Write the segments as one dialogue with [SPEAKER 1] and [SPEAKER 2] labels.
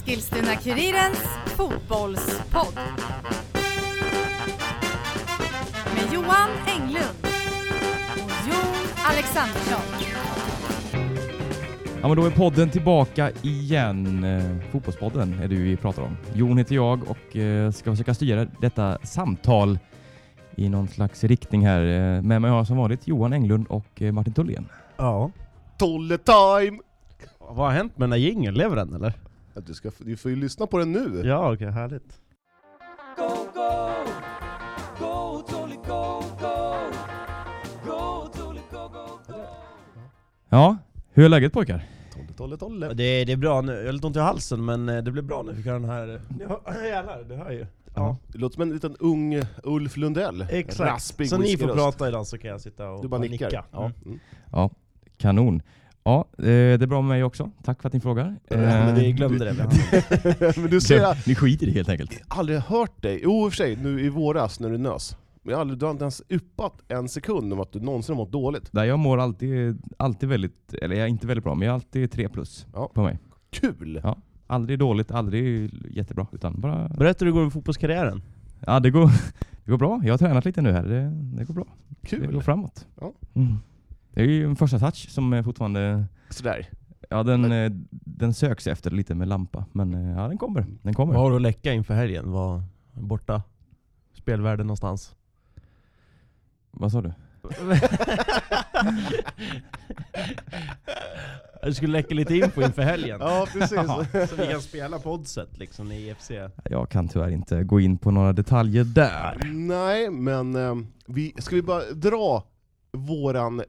[SPEAKER 1] Eskilstuna-Kurirens fotbollspodd. Med Johan Englund och Jon Alexandersson.
[SPEAKER 2] Ja men då är podden tillbaka igen. Eh, fotbollspodden är det vi pratar om. Jon heter jag och eh, ska försöka styra detta samtal i någon slags riktning här. Eh, med mig har jag som vanligt Johan Englund och eh, Martin Tullén.
[SPEAKER 3] Ja.
[SPEAKER 4] Tolle time!
[SPEAKER 3] Vad har hänt med den där jingeln? Lever den eller?
[SPEAKER 4] Ja, du, ska, du får ju lyssna på den nu.
[SPEAKER 3] Ja, okej, härligt.
[SPEAKER 2] Ja, hur är läget pojkar?
[SPEAKER 4] Tolle, Tolle, Tolle.
[SPEAKER 3] Det, det är bra nu. Jag har lite ont i halsen men eh, det blir bra nu. Vi kan den här... eh, Ja, jävlar, det hör ju. Ja,
[SPEAKER 4] Det låter som en liten ung Ulf Lundell.
[SPEAKER 3] exakt.
[SPEAKER 4] Raspig
[SPEAKER 3] så ni får
[SPEAKER 4] whiskyröst.
[SPEAKER 3] prata idag så kan jag sitta och
[SPEAKER 4] Du bara nickar.
[SPEAKER 3] nicka.
[SPEAKER 4] Ja.
[SPEAKER 3] Mm.
[SPEAKER 4] Mm.
[SPEAKER 2] Ja, kanon. Ja, eh, det är bra med mig också. Tack för att ni frågar.
[SPEAKER 3] Ja, men det
[SPEAKER 2] Eh,
[SPEAKER 3] glömde det.
[SPEAKER 4] Men du ser, jag har
[SPEAKER 2] Ni skiter i det helt enkelt.
[SPEAKER 4] aldrig hört dig. Jo i och för sig, nu i våras när du nös. Men jag har aldrig, du har inte ens yppat en sekund om att du någonsin har mått dåligt.
[SPEAKER 2] Nej, jag mår alltid, alltid väldigt, eller jag är inte väldigt bra, men jag är alltid tre plus
[SPEAKER 4] Ja.
[SPEAKER 2] på mig.
[SPEAKER 4] Kul!
[SPEAKER 2] Aldrig dåligt, aldrig jättebra, utan bara
[SPEAKER 3] Berätta hur det går med fotbollskarriären.
[SPEAKER 2] Ja, det går, det går bra. Jag har tränat lite nu här. Det, det går bra. Det går
[SPEAKER 4] Kul!
[SPEAKER 2] framåt.
[SPEAKER 4] Ja.
[SPEAKER 2] Mm. Det är ju en första touch som är fortfarande...
[SPEAKER 4] Sådär.
[SPEAKER 2] Ja, den, eh, den söks efter lite med lampa. Men eh, ja, den kommer. Den kommer.
[SPEAKER 3] Vad har du att läcka inför helgen? Var borta? Spelvärlden någonstans?
[SPEAKER 2] Vad sa du?
[SPEAKER 3] Du skulle läcka lite info inför helgen.
[SPEAKER 4] Ja, precis.
[SPEAKER 2] Ja.
[SPEAKER 3] Så vi kan spela podset liksom i IFC.
[SPEAKER 2] Jag kan tyvärr inte gå in på några detaljer där.
[SPEAKER 4] Nej, men ehm, vi, ska vi bara dra våran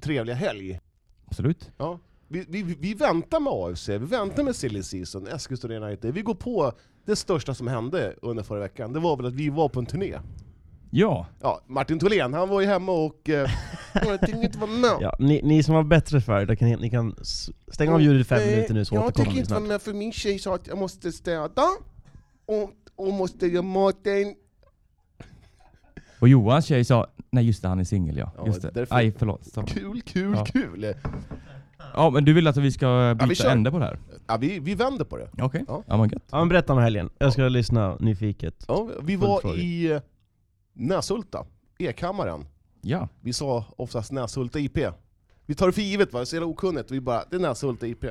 [SPEAKER 4] trevliga helg?
[SPEAKER 2] Absolut.
[SPEAKER 4] Ja. Vi, vi, vi väntar med AFC, vi väntar med Silly Season, Eskilstuna United. Vi går på det största som hände under förra veckan. Det var väl att vi var på en turné.
[SPEAKER 2] Ja,
[SPEAKER 4] Ja, Martin Tholén, han var ju hemma och... Eh, jag tänkte inte vara med.
[SPEAKER 3] Ja, ni, ni som har bättre färg, kan, ni kan s- stänga av ljudet i fem
[SPEAKER 4] Nej,
[SPEAKER 3] minuter nu så
[SPEAKER 4] Jag
[SPEAKER 3] återkommer
[SPEAKER 4] tänker
[SPEAKER 3] vi
[SPEAKER 4] inte
[SPEAKER 3] snart.
[SPEAKER 4] vara med för min tjej sa att jag måste städa, och, och måste göra maten.
[SPEAKER 2] och Johans tjej sa... Nej just det, han är singel ja.
[SPEAKER 4] Ja,
[SPEAKER 2] Just det.
[SPEAKER 4] därför-
[SPEAKER 2] Aj, förlåt. Stopp.
[SPEAKER 4] Kul, kul,
[SPEAKER 2] Ja.
[SPEAKER 4] kul!
[SPEAKER 2] Ja, men du vill att vi ska
[SPEAKER 4] vi
[SPEAKER 2] byta
[SPEAKER 4] kör.
[SPEAKER 2] ände på det här?
[SPEAKER 4] Ja, vi, vi vänder på det.
[SPEAKER 2] Okej.
[SPEAKER 4] Ja.
[SPEAKER 2] Ja, men gött.
[SPEAKER 3] Ja men berätta om helgen, jag ska lyssna nyfiket.
[SPEAKER 4] Ja, vi var
[SPEAKER 3] fråga.
[SPEAKER 4] i eh, Näshulta, Ekhammaren.
[SPEAKER 2] Ja.
[SPEAKER 4] Vi sa oftast Näshulta IP. Vi tar det för givet, va? det är så jävla okunnigt. Vi bara, det är Näshulta IP.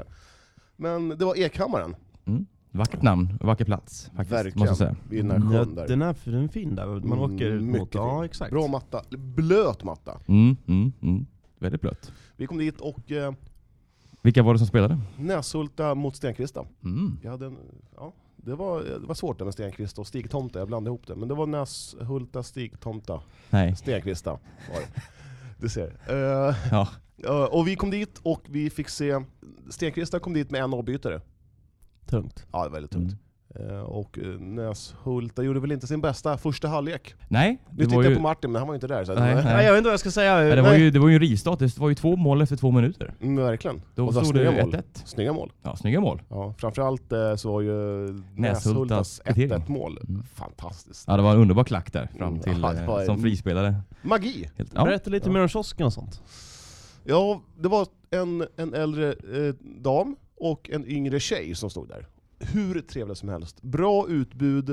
[SPEAKER 4] Men det var Ekhammaren,
[SPEAKER 2] Vackert namn, vacker plats faktiskt.
[SPEAKER 4] Verkligen.
[SPEAKER 2] Måste jag säga.
[SPEAKER 4] vid Mm. den här sjön där.
[SPEAKER 3] Den är, den är fin där, man
[SPEAKER 4] Mm,
[SPEAKER 3] åker ut mot...
[SPEAKER 4] mycket
[SPEAKER 3] Ja
[SPEAKER 4] fin.
[SPEAKER 3] exakt.
[SPEAKER 4] Bra matta, blöt matta.
[SPEAKER 2] Mm, mm, mm. Väldigt blött.
[SPEAKER 4] Vi kom dit och eh,
[SPEAKER 2] Vilka var det som spelade?
[SPEAKER 4] Näshulta mot Stenkvista.
[SPEAKER 2] Mm.
[SPEAKER 4] Jag hade en, ja, det, var, det var svårt där med Stenkvista och Stigtomta, jag blandade ihop det. Men det var Näshulta, Stigtomta,
[SPEAKER 2] Nej.
[SPEAKER 4] Stenkvista var det. Du ser. Eh,
[SPEAKER 2] Ja.
[SPEAKER 4] eh, och vi kom dit och vi fick se, Stenkvista kom dit med en avbytare.
[SPEAKER 3] Tungt.
[SPEAKER 4] Ja, det var väldigt tungt. Eh, och eh, Näshulta gjorde väl inte sin bästa första halvlek.
[SPEAKER 2] Nej,
[SPEAKER 4] Nu
[SPEAKER 2] det
[SPEAKER 4] tittar
[SPEAKER 2] var,
[SPEAKER 4] jag
[SPEAKER 2] ju,
[SPEAKER 4] på Martin, men han var ju inte där. Så att-
[SPEAKER 2] Nej,
[SPEAKER 4] nej.
[SPEAKER 2] nej.
[SPEAKER 3] Nej, jag vet inte vad jag ska säga.
[SPEAKER 2] nej, det var ju det var ju en rivstart. Det var ju två mål efter två minuter.
[SPEAKER 4] Mm, verkligen.
[SPEAKER 2] Då
[SPEAKER 4] Och så
[SPEAKER 2] stod det
[SPEAKER 4] snygga mål.
[SPEAKER 2] 1-1.
[SPEAKER 4] Snygga mål.
[SPEAKER 2] Ja, snygga mål.
[SPEAKER 4] Ja, framförallt eh, så var ju
[SPEAKER 2] Näshultas
[SPEAKER 4] Näshultas
[SPEAKER 2] kvittering.
[SPEAKER 4] 1-1 mål
[SPEAKER 2] Mm.
[SPEAKER 4] fantastiskt.
[SPEAKER 2] Ja, det var en underbar klack där fram
[SPEAKER 4] Mm,
[SPEAKER 2] till
[SPEAKER 4] ja, det var
[SPEAKER 2] eh,
[SPEAKER 4] en-
[SPEAKER 2] som frispelare.
[SPEAKER 4] Magi!
[SPEAKER 2] Helt, ja.
[SPEAKER 3] Berätta lite mer om kiosken och sånt.
[SPEAKER 4] Ja, det var en, en äldre eh, dam och en yngre tjej som stod där. Hur trevliga som helst. Bra utbud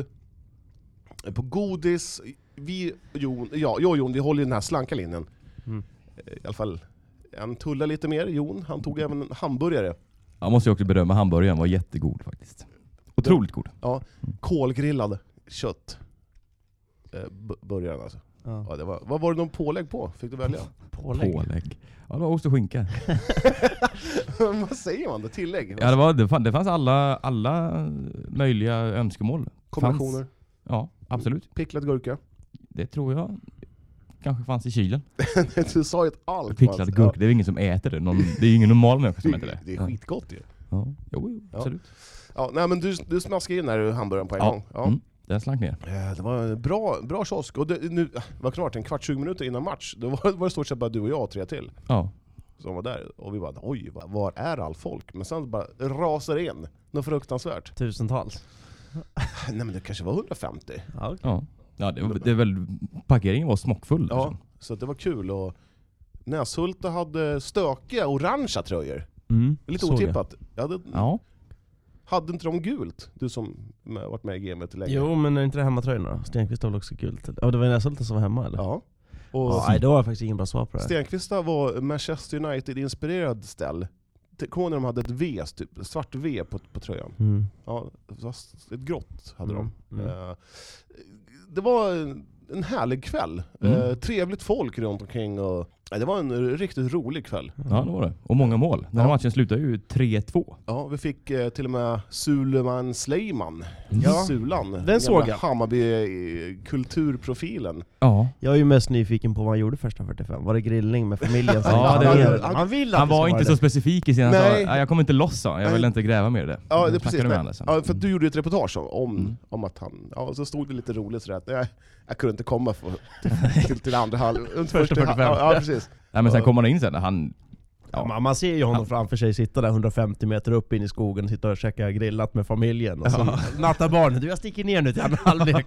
[SPEAKER 4] eh, på godis. Vi, Jon, ja, jag och Jon, vi håller ju den här slanka linjen.
[SPEAKER 3] Mm.
[SPEAKER 4] Eh, I alla fall, han tullade lite mer, Jon. Han tog även en hamburgare.
[SPEAKER 2] Jag måste ju också berömma hamburgaren, var jättegod faktiskt. Otroligt god.
[SPEAKER 4] Kolgrillad kött. Eh, bu- burgaren alltså. Ja, det var, vad var det någon pålägg på? Fick du välja?
[SPEAKER 3] Pålägg.
[SPEAKER 2] Pålägg. Ja, det var ost och skinka.
[SPEAKER 4] vad säger man då? Tillägg?
[SPEAKER 2] Ja, det, var, det, fanns, det fanns alla, alla möjliga önskemål.
[SPEAKER 4] Kombinationer?
[SPEAKER 2] Ja, absolut.
[SPEAKER 4] Picklad gurka?
[SPEAKER 2] Det tror jag kanske fanns i kylen.
[SPEAKER 4] du sa ju att allt fanns.
[SPEAKER 2] Picklad
[SPEAKER 4] Ja.
[SPEAKER 2] gurka, det är ingen som äter det. Någon, det är ju ingen normal människa som äter det.
[SPEAKER 4] Det är skitgott ju.
[SPEAKER 2] Ja. Jo, jo,
[SPEAKER 4] Ja.
[SPEAKER 2] absolut.
[SPEAKER 4] Ja, nej, men du, du smaskade in här hamburgaren på en
[SPEAKER 2] Ja.
[SPEAKER 4] gång. Ja.
[SPEAKER 2] Mm, den slank ner.
[SPEAKER 4] Eh, Det var en bra, bra kiosk. Och det, nu var klart, en kvart, 20 minuter innan match, då var, var det stort sett bara du och jag och tre till
[SPEAKER 2] Ja.
[SPEAKER 4] som var där. Och vi bara oj, var, var är all folk? Men sen bara rasar det in. Något fruktansvärt.
[SPEAKER 3] Tusentals.
[SPEAKER 4] Nej men det kanske var 150.
[SPEAKER 3] Ja, okej.
[SPEAKER 2] Ja, ja det, var- det är väl, parkeringen var smockfull. liksom. där
[SPEAKER 4] Ja,
[SPEAKER 2] sen.
[SPEAKER 4] så att det var kul. Och Näshulta hade stökiga orangea tröjor. Lite
[SPEAKER 2] Mm, Såg jag.
[SPEAKER 4] otippat. Jag hade
[SPEAKER 2] Ja.
[SPEAKER 4] Hade inte de gult? Du som har varit med i gamet länge.
[SPEAKER 3] Jo men är inte det hemmatröjorna? Stenqvist har väl också gult? Ja det var Näshulta som var hemma eller?
[SPEAKER 4] Ja. Och
[SPEAKER 3] Ja, nej, då har jag faktiskt ingen bra svar på det. här.
[SPEAKER 4] Stenqvista var Manchester United-inspirerad ställ. Te- Kommer ni ihåg när de hade ett V, typ, svart V på, på tröjan?
[SPEAKER 3] Mm.
[SPEAKER 4] Ja, fast ett grått hade de.
[SPEAKER 3] Mm. Mm.
[SPEAKER 4] Eh, Det var en- en härlig kväll.
[SPEAKER 2] Mm.
[SPEAKER 4] Eh, Trevligt folk runt omkring och nej, det var en riktigt rolig kväll.
[SPEAKER 2] Ja, det var det. Och många mål. Den här matchen slutade ju 3-2.
[SPEAKER 4] Ja, vi fick eh, till och med Suleman Sleiman.
[SPEAKER 3] Ja.
[SPEAKER 4] Sulan. Den
[SPEAKER 3] Den såg jag.
[SPEAKER 4] Hammarby-kulturprofilen.
[SPEAKER 2] Ja.
[SPEAKER 3] Jag är ju mest nyfiken på vad han gjorde första 45. Var det grillning med familjen?
[SPEAKER 2] Ja,
[SPEAKER 3] han,
[SPEAKER 2] det-
[SPEAKER 3] vill-
[SPEAKER 4] han-
[SPEAKER 3] han vill att
[SPEAKER 2] Han
[SPEAKER 3] det ska
[SPEAKER 2] var
[SPEAKER 3] vara
[SPEAKER 2] inte
[SPEAKER 3] det.
[SPEAKER 2] så specifik i sina han sa,
[SPEAKER 4] Nej.
[SPEAKER 2] "Nej, Jag kommer inte loss sa han. jag vill
[SPEAKER 4] Nej.
[SPEAKER 2] inte gräva mer i det.
[SPEAKER 4] Ja,
[SPEAKER 2] Jag
[SPEAKER 4] det är precis.
[SPEAKER 2] snackade med
[SPEAKER 4] Nej.
[SPEAKER 2] honom sen.
[SPEAKER 4] Ja, för att du gjorde ju ett reportage om, om,
[SPEAKER 2] Mm.
[SPEAKER 4] om att han... Ja, och så stod det lite roligt sådär att nej, jag kunde inte komma för, till, till andra halv... inte
[SPEAKER 2] Första
[SPEAKER 4] första-
[SPEAKER 2] 45.
[SPEAKER 4] Ja, ja, precis.
[SPEAKER 2] Nej, men sen kom han in sen. Han,
[SPEAKER 3] Ja, man, man ser ju honom framför sig sitta där 150 meter upp in i skogen, sitta och käka grillat med familjen och sen nattar barnen. Du jag sticker ner nu till andra halvlek.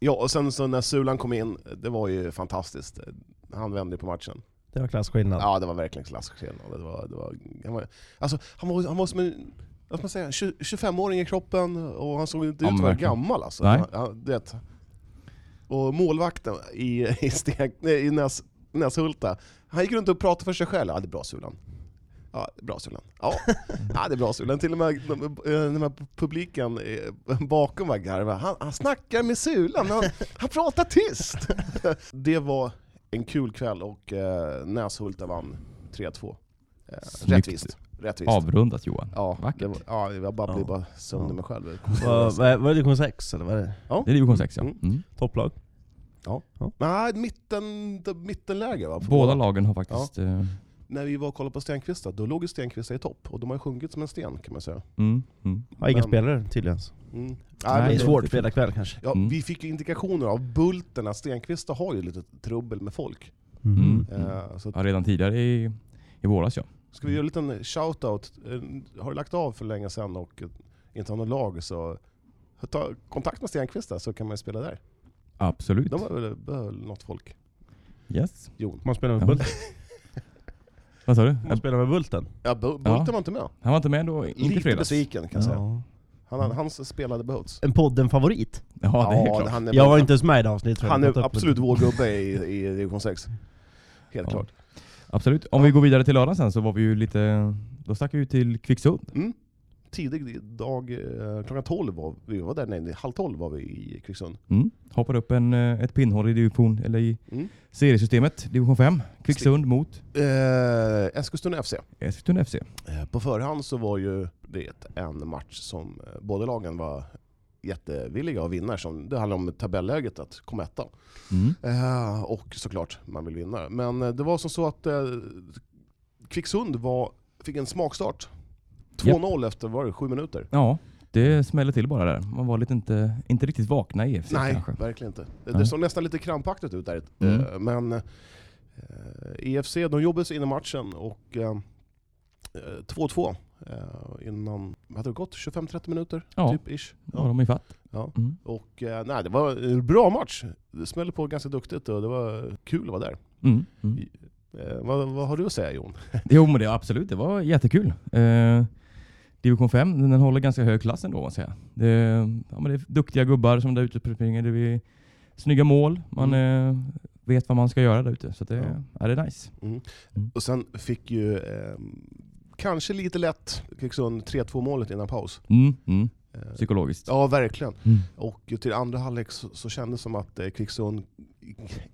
[SPEAKER 4] Ja, och sen så när Sulan kom in, det var ju fantastiskt. Han vände ju på matchen.
[SPEAKER 3] Det var klasskillnad.
[SPEAKER 4] Ja, det var verkligen klassskillnad. Det var, det var, han, var, alltså, han, var, han var som en vad ska man säga, 20 25-åring i kroppen och han såg inte
[SPEAKER 2] Ja,
[SPEAKER 4] ut
[SPEAKER 2] men
[SPEAKER 4] att vara
[SPEAKER 2] verkligen.
[SPEAKER 4] gammal alltså.
[SPEAKER 2] Nej.
[SPEAKER 4] Han- han- du vet. Och målvakten i, i, Sten- nej, i Näs, Näshulta, han gick runt och pratade för sig själv. Ja, det är bra Sulan. Ja, det är bra Sulan. Ja, ja det är bra Sulan. Till och med de, eh, den här publiken eh, bakom var garva. Han, han snackar med Sulan, han, han pratar tyst. Det var en kul kväll och eh, Näshulta vann 3-2. Eh,
[SPEAKER 2] Snyggt.
[SPEAKER 4] rättvist. rättvist.
[SPEAKER 2] avrundat Johan.
[SPEAKER 4] Ja,
[SPEAKER 2] Vackert.
[SPEAKER 4] det var, ja, jag bara blir
[SPEAKER 3] Ja.
[SPEAKER 4] bara sönder mig själv.
[SPEAKER 3] Vad vad- vad är det, division 6 eller vad är det?
[SPEAKER 2] Det är division 6 ja.
[SPEAKER 4] Mm.
[SPEAKER 2] Mm.
[SPEAKER 3] Topplag?
[SPEAKER 4] Nej, mitten, mittenläge va? För
[SPEAKER 2] Båda
[SPEAKER 4] våra-
[SPEAKER 2] lagen har faktiskt... eh,
[SPEAKER 4] När vi var och kollade på Stenkvista, då låg ju Stenkvista i topp. Och de har ju sjunkit som en sten kan man säga.
[SPEAKER 2] Mm. Mm.
[SPEAKER 3] Ja, inga
[SPEAKER 4] Men-
[SPEAKER 3] spelare tydligen.
[SPEAKER 4] Mm.
[SPEAKER 2] Nej,
[SPEAKER 4] men
[SPEAKER 3] det är
[SPEAKER 2] det-
[SPEAKER 3] svårt fredag kväll kanske.
[SPEAKER 4] Ja,
[SPEAKER 2] Mm.
[SPEAKER 4] Vi fick ju indikationer av Bulten att Stenkvista har ju lite trubbel med folk.
[SPEAKER 2] Mm.
[SPEAKER 4] Eh, så att,
[SPEAKER 2] Ja, redan tidigare i, i våras ja.
[SPEAKER 4] ska vi göra en liten shout-out? Eh, har du lagt av för länge sedan och eh, inte har något lag så ta kontakt med Stenkvista så kan man ju spela där.
[SPEAKER 2] Absolut.
[SPEAKER 4] De har väl behöver något folk.
[SPEAKER 2] Yes.
[SPEAKER 4] Jon.
[SPEAKER 3] Man spelar
[SPEAKER 2] med
[SPEAKER 3] med
[SPEAKER 2] Bulten.
[SPEAKER 3] Bulten.
[SPEAKER 2] Vad sa du?
[SPEAKER 3] Man spelar med Bulten.
[SPEAKER 4] Ja, Bu- Bulten
[SPEAKER 2] Ja.
[SPEAKER 4] var inte med.
[SPEAKER 2] Han var inte med då? Inte i
[SPEAKER 4] Lite
[SPEAKER 2] fredags?
[SPEAKER 4] besviken kan jag säga. Han, han, han spelade Boats.
[SPEAKER 3] En podden-favorit.
[SPEAKER 2] Ja, det är klart.
[SPEAKER 4] han är,
[SPEAKER 3] Jag var inte ens med i det avsnittet. tror jag.
[SPEAKER 4] han
[SPEAKER 3] Jag har
[SPEAKER 4] är
[SPEAKER 3] tagit upp
[SPEAKER 4] absolut
[SPEAKER 3] det.
[SPEAKER 4] vår gubbe i, i division 6. Helt
[SPEAKER 2] Ja.
[SPEAKER 4] klart.
[SPEAKER 2] Absolut. Om vi går vidare till lördagen sen så var vi ju lite... Då stack vi ju till Kvicksund.
[SPEAKER 4] Mm. Tidig dag, eh, klockan 12 var vi var där, nej halv 12 var vi i Kvicksund.
[SPEAKER 2] Mm. Hoppade upp en, eh, ett pinnhål i division, eller i
[SPEAKER 4] Mm.
[SPEAKER 2] seriesystemet, division 5. Kvicksund mot
[SPEAKER 4] Eh, Eskilstuna FC.
[SPEAKER 2] Eskilstuna FC.
[SPEAKER 4] Eh, på förhand så var ju det en match som eh, båda lagen var jättevilliga att vinna. Som det handlar om tabelläget, att komma etta.
[SPEAKER 2] Mm.
[SPEAKER 4] Eh, och såklart, man vill vinna. Men eh, det var som så att eh, Kvicksund var, fick en smakstart. 2-0 efter var det, sju minuter.
[SPEAKER 2] Ja, det smällde till bara där. Man var lite inte, inte riktigt vakna i EFC
[SPEAKER 4] Nej,
[SPEAKER 2] kanske.
[SPEAKER 4] verkligen inte. Det-
[SPEAKER 2] Nej.
[SPEAKER 4] Det såg nästan lite krampaktigt ut där.
[SPEAKER 2] Mm.
[SPEAKER 4] Eh, Men eh, EFC, de jobbade sig in i matchen och eh, eh, 2-2 eh, innan, hade det gått 25-30 minuter?
[SPEAKER 2] Ja.
[SPEAKER 4] Typ ish.
[SPEAKER 2] Då var de ifatt.
[SPEAKER 4] Ja.
[SPEAKER 2] Mm.
[SPEAKER 4] Och eh, nej, det var en bra match. Det smällde på ganska duktigt och det var kul att vara där.
[SPEAKER 2] Mm. Mm.
[SPEAKER 4] Eh, Vad, vad har du att säga Jon?
[SPEAKER 2] Jo men det, absolut, det var jättekul. Eh, Division 5, den håller ganska hög klass ändå, om man säger. Det, ja, men det är duktiga gubbar som där ute på springer. Det är snygga mål. Man eh, vet vad man ska göra där ute. Så att det, ja.
[SPEAKER 4] Mm. Ja.
[SPEAKER 2] det är nice.
[SPEAKER 4] Och sen fick ju, eh, kanske lite lätt, Kvicksund 3-2 målet innan paus.
[SPEAKER 2] Mm. Mm.
[SPEAKER 4] Eh,
[SPEAKER 2] Psykologiskt.
[SPEAKER 4] Ja, verkligen.
[SPEAKER 2] Mm.
[SPEAKER 4] Och till andra halvlek så, så kändes det som att eh, Kvicksund,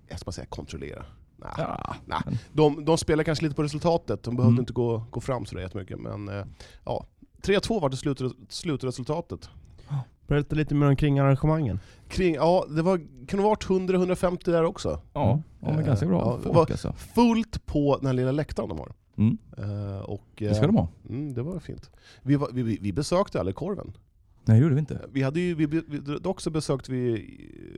[SPEAKER 4] jag ska bara säga kontrollera. Nah.
[SPEAKER 2] Ja.
[SPEAKER 4] De, de spelar kanske lite på resultatet, de behövde
[SPEAKER 2] Mm.
[SPEAKER 4] inte gå, gå fram sådär jättemycket. Men eh, ja, 3-2 var det slut, slutresultatet.
[SPEAKER 3] Berätta lite mer omkring arrangemangen.
[SPEAKER 4] Kring, ja, det var, kan det ha varit 100-150 där också.
[SPEAKER 2] Ja, ja men
[SPEAKER 4] Eh,
[SPEAKER 2] ganska bra
[SPEAKER 4] ja,
[SPEAKER 2] folk
[SPEAKER 4] vad-
[SPEAKER 2] alltså.
[SPEAKER 4] Fullt på den här lilla läktaren de har.
[SPEAKER 2] Mm.
[SPEAKER 4] Eh, och, eh,
[SPEAKER 2] Det ska de ha.
[SPEAKER 4] Mm, det var fint. Vi, var, vi- vi, vi besökte aldrig korven.
[SPEAKER 2] Nej det gjorde vi inte.
[SPEAKER 4] Vi hade ju, vi, vi, dock så besökte vi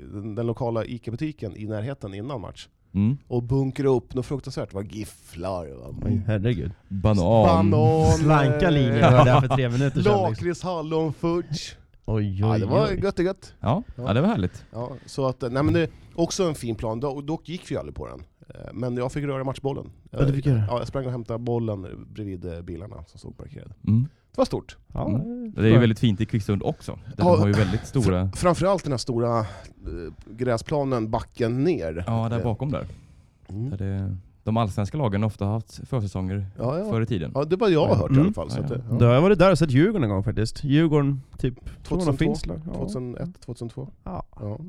[SPEAKER 4] eh, den, den lokala ICA-butiken i närheten innan match.
[SPEAKER 2] Mm.
[SPEAKER 4] och bunkra upp något fruktansvärt. Det var gifflar, det var
[SPEAKER 3] Oj, herregud.
[SPEAKER 2] Banan.
[SPEAKER 4] banan,
[SPEAKER 3] Slanka linjer
[SPEAKER 4] eh,
[SPEAKER 3] var det här för tre minuter sedan. Liksom.
[SPEAKER 4] lakrits, hallon, fudge.
[SPEAKER 3] Oj,
[SPEAKER 4] Ja,
[SPEAKER 3] oj,
[SPEAKER 4] det var
[SPEAKER 3] oj.
[SPEAKER 4] gött, det gött.
[SPEAKER 2] Ja. ja, det var härligt.
[SPEAKER 4] Ja, så att, eh, nej men det är också en fin plan. Dock- Och dock gick vi aldrig på den. Eh, Men jag fick röra matchbollen. Eh,
[SPEAKER 3] Ja, du fick göra det.
[SPEAKER 4] ja, jag sprang och hämtade bollen bredvid eh, bilarna som stod parkerade.
[SPEAKER 2] Mm.
[SPEAKER 4] Det var stort.
[SPEAKER 3] Ja,
[SPEAKER 2] Mm. Det är ju väldigt fint i Kvicksund också. Där
[SPEAKER 4] Ja.
[SPEAKER 2] de har ju väldigt stora...
[SPEAKER 4] Framförallt den här stora eh, gräsplanen backen ner.
[SPEAKER 2] Ja, där
[SPEAKER 4] Eh,
[SPEAKER 2] bakom där.
[SPEAKER 4] Mm.
[SPEAKER 2] där det, de allsvenska lagen har ofta haft försäsonger
[SPEAKER 4] Ja, ja.
[SPEAKER 2] förr i tiden.
[SPEAKER 4] ja, det var jag har hört i
[SPEAKER 3] Mm.
[SPEAKER 4] alla fall. Så
[SPEAKER 2] Ja,
[SPEAKER 4] att, eh, det-
[SPEAKER 3] Då har jag varit där och sett Djurgården en gång faktiskt. Djurgården typ tror jag
[SPEAKER 4] 2002.
[SPEAKER 3] finns där. Ja.
[SPEAKER 4] 2001, 2002?
[SPEAKER 3] Ja.
[SPEAKER 4] Ja,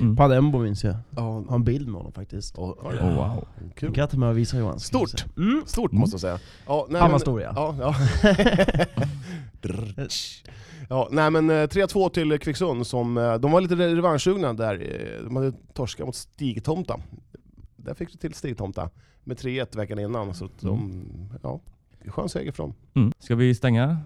[SPEAKER 2] Mm.
[SPEAKER 3] Padembo minns jag.
[SPEAKER 4] ja.
[SPEAKER 3] Har en bild med honom faktiskt.
[SPEAKER 4] ja,
[SPEAKER 2] Oh, wow.
[SPEAKER 3] Den
[SPEAKER 4] Kul.
[SPEAKER 3] kan jag ta med och visa Johan. ska vi
[SPEAKER 4] Stort!
[SPEAKER 3] se. Mm.
[SPEAKER 4] Stort
[SPEAKER 2] Mm.
[SPEAKER 4] måste jag säga. Ja, nej,
[SPEAKER 3] Han var
[SPEAKER 4] men-
[SPEAKER 3] stor ja.
[SPEAKER 4] Ja, ja. Drr. ja, nej men eh, 3-2 till Kvicksund som, eh, de var lite revanschsugna där. eh, De hade torskat mot Stigtomta. Där fick du till Stigtomta med 3-1 veckan innan. Så att de, ja, skön seger för dem.
[SPEAKER 2] Mm. Ska vi stänga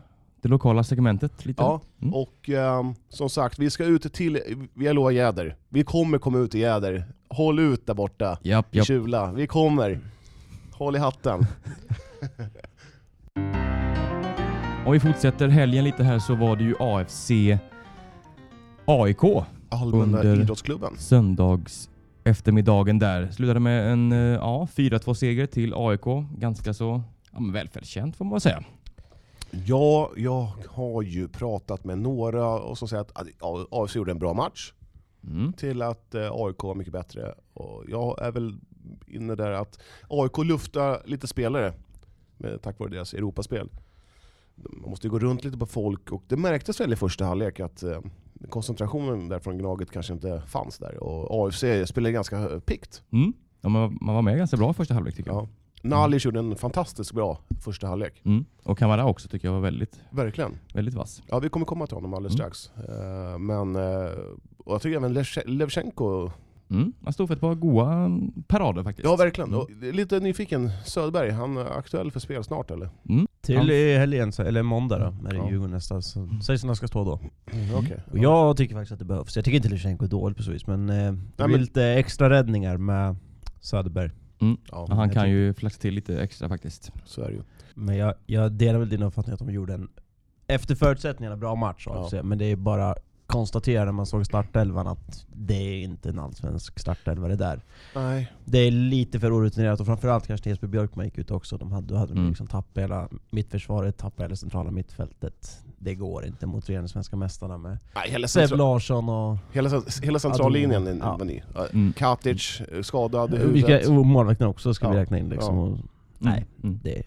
[SPEAKER 2] det lokala segmentet lite?
[SPEAKER 4] Ja,
[SPEAKER 2] Mm.
[SPEAKER 4] och ehm, som sagt, vi ska ut till, vi lovar Jäder. Vi kommer komma ut i Jäder. Håll ut där borta
[SPEAKER 2] Japp,
[SPEAKER 4] i
[SPEAKER 2] japp.
[SPEAKER 4] Kjula. Vi kommer.
[SPEAKER 2] Mm.
[SPEAKER 4] Håll i hatten.
[SPEAKER 2] Om vi fortsätter helgen lite här så var det ju AFC AIK
[SPEAKER 4] Allmänna
[SPEAKER 2] Under-
[SPEAKER 4] idrottsklubben.
[SPEAKER 2] söndags eftermiddagen där. Slutade med en eh, ja, 4-2 seger till AIK. Ganska så ja, men välförtjänt får man väl säga.
[SPEAKER 4] Ja, jag har ju pratat med några och som säger att ja, AFC gjorde en bra match
[SPEAKER 2] Mm.
[SPEAKER 4] till att eh, AIK var mycket bättre. Och jag är väl inne där att AIK luftar lite spelare med, tack vare deras Europaspel. Man måste ju gå runt lite på folk och det märktes väl i första halvlek att eh, koncentrationen där från Gnaget kanske inte fanns där. Och AFC spelade ganska eh, piggt.
[SPEAKER 2] Mm. Ja, man, man var med ganska bra i första halvlek tycker jag.
[SPEAKER 4] Ja. Nalic gjorde en fantastiskt bra första halvlek.
[SPEAKER 2] Mm. Och Kamara också tycker jag var väldigt,
[SPEAKER 4] Verkligen.
[SPEAKER 2] väldigt vass.
[SPEAKER 4] Ja, vi kommer komma till honom alldeles
[SPEAKER 2] Mm.
[SPEAKER 4] strax. Eh, men, eh, och jag tycker även Leshe- Levchenko...
[SPEAKER 2] Mm. Han stod för ett par goa mm, parader faktiskt.
[SPEAKER 4] Ja, verkligen.
[SPEAKER 2] Mm.
[SPEAKER 4] Och lite nyfiken, Söderberg, han är aktuell för spel snart eller?
[SPEAKER 2] Mm.
[SPEAKER 3] Till i helgen, så- eller måndag då, är det
[SPEAKER 4] Ja.
[SPEAKER 3] Djurgården nästa. Så sägs att han ska stå då.
[SPEAKER 4] Okej.
[SPEAKER 3] Mm. Och jag tycker faktiskt att det behövs. Jag tycker inte Lusjenko är dålig precis, men eh, det
[SPEAKER 4] men-
[SPEAKER 3] blir lite extra räddningar med Söderberg.
[SPEAKER 4] Ja,
[SPEAKER 2] Mm. Ja, han
[SPEAKER 3] jag
[SPEAKER 2] kan
[SPEAKER 3] tycker-
[SPEAKER 2] ju flaxa till lite extra faktiskt.
[SPEAKER 4] så är det ju.
[SPEAKER 3] Men jag, jag delar väl din uppfattning att de gjorde en, efter förutsättningarna, bra match
[SPEAKER 4] Ja.
[SPEAKER 3] AFC. Men det är bara konstatera när man såg startelvan att det är inte en allsvensk startelva det där.
[SPEAKER 4] Nej.
[SPEAKER 3] Det är lite för orutinerat och framförallt kanske när Jesper Björkman gick ut också. De hade, då hade
[SPEAKER 2] Mm.
[SPEAKER 3] de liksom tappat hela mittförsvaret, tappat hela centrala mittfältet. Det går inte mot regerande svenska mästarna med
[SPEAKER 4] Nej, hela,
[SPEAKER 3] Seb
[SPEAKER 4] centra,
[SPEAKER 3] Larsson och...
[SPEAKER 4] hela, cent- hela centrallinjen är-
[SPEAKER 3] Ja. Mm. oh.
[SPEAKER 4] var ny. Ja.
[SPEAKER 2] Mm.
[SPEAKER 4] Katic, eh, skadad i
[SPEAKER 3] Vi
[SPEAKER 4] huvudet.
[SPEAKER 3] ska- Och målvakten också ska vi
[SPEAKER 4] Ja.
[SPEAKER 3] räkna in liksom.
[SPEAKER 4] Ja.
[SPEAKER 3] Och, Nej.
[SPEAKER 2] Mm.
[SPEAKER 3] det,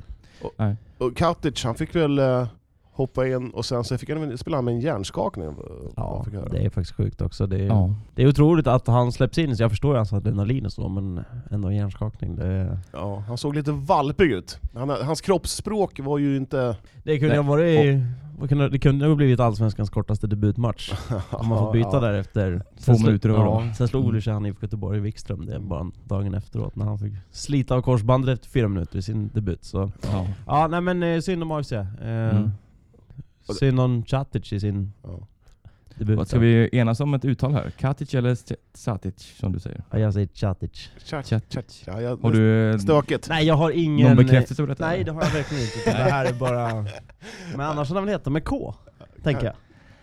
[SPEAKER 4] Och Katic, han fick väl eh, hoppa in och sen så fick han väl spela med en hjärnskakning. eh, vad
[SPEAKER 3] ja,
[SPEAKER 4] jag fick höra.
[SPEAKER 3] det är faktiskt sjukt också. Det är,
[SPEAKER 2] Ja.
[SPEAKER 3] det är otroligt att han släpps in. Så jag förstår ju hans adrenalin och så, men ändå en hjärnskakning. Det, är-
[SPEAKER 4] Ja, han såg lite valpig ut. Han, hans kroppsspråk var ju inte...
[SPEAKER 3] det kunde
[SPEAKER 2] Nej.
[SPEAKER 3] ju ha varit... vad kunde- Det kunde ju ha blivit Allsvenskans kortaste debutmatch. Om man får byta
[SPEAKER 4] Ja.
[SPEAKER 3] där efter.
[SPEAKER 2] Två minuter över
[SPEAKER 3] ja,
[SPEAKER 2] då.
[SPEAKER 3] Sen slog
[SPEAKER 2] Mm.
[SPEAKER 3] Ulrich han i Göteborg, Wikström, det bara dagen efteråt när han fick slita av korsbandet efter fyra minuter i sin debut. Så.
[SPEAKER 2] Ja.
[SPEAKER 3] Ja, nej men eh, synd om AFC. Eh,
[SPEAKER 2] Mm.
[SPEAKER 3] Synd om Catic i sin
[SPEAKER 4] Ja.
[SPEAKER 3] debut.
[SPEAKER 2] Vad Ska vi enas om ett uttal här? Katic eller St- Satic som du säger?
[SPEAKER 3] Ja, jag säger Catic.
[SPEAKER 4] Tja, tja,
[SPEAKER 2] Chat.
[SPEAKER 4] tja, jag,
[SPEAKER 2] Har du eh,
[SPEAKER 4] Stökigt.
[SPEAKER 3] Nej jag har ingen...
[SPEAKER 2] någon bekräftelse på detta?
[SPEAKER 3] Nej det har jag verkligen inte. Det här är bara... Men annars hade han väl hetat med K, tänker jag.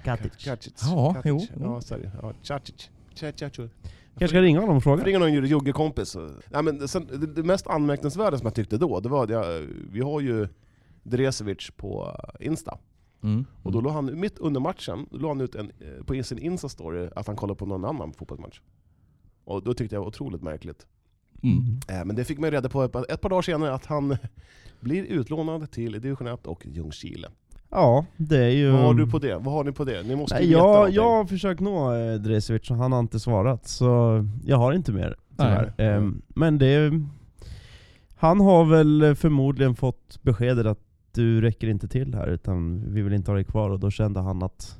[SPEAKER 3] Catic.
[SPEAKER 4] Kacic.
[SPEAKER 2] Ja,
[SPEAKER 4] Kacic.
[SPEAKER 2] jo.
[SPEAKER 4] Ja, sorry. Ja, Kacic. Kacic.
[SPEAKER 3] kanske ska ringa honom och fråga.
[SPEAKER 4] Ring någon juggekompis. Nej, men sen, det, det mest anmärkningsvärda som jag tyckte då, det var att jag, vi har ju Dresevic på Insta.
[SPEAKER 2] Mm.
[SPEAKER 4] Och då la han, mitt under matchen, då la han ut en, eh, på sin Insta-story att han kollade på någon annan fotbollsmatch. Och då tyckte jag det var otroligt märkligt.
[SPEAKER 2] Mm.
[SPEAKER 4] Eh, Men det fick man ju reda på ett par, ett par dagar senare, att han blir utlånad till division 1 och Ljungskile.
[SPEAKER 3] Ja, det är ju...
[SPEAKER 4] Vad har du på det? Vad har ni på det? Ni måste ju
[SPEAKER 3] Mm. Nej,
[SPEAKER 4] veta
[SPEAKER 3] jag,
[SPEAKER 4] någonting.
[SPEAKER 3] jag har försökt nå eh, Dresevic och han har inte svarat, så jag har inte mer tyvärr.
[SPEAKER 4] Nej.
[SPEAKER 3] Ehm, Men det... är- Han har väl förmodligen fått beskedet att du räcker inte till här, utan vi vill inte ha dig kvar, och då kände han att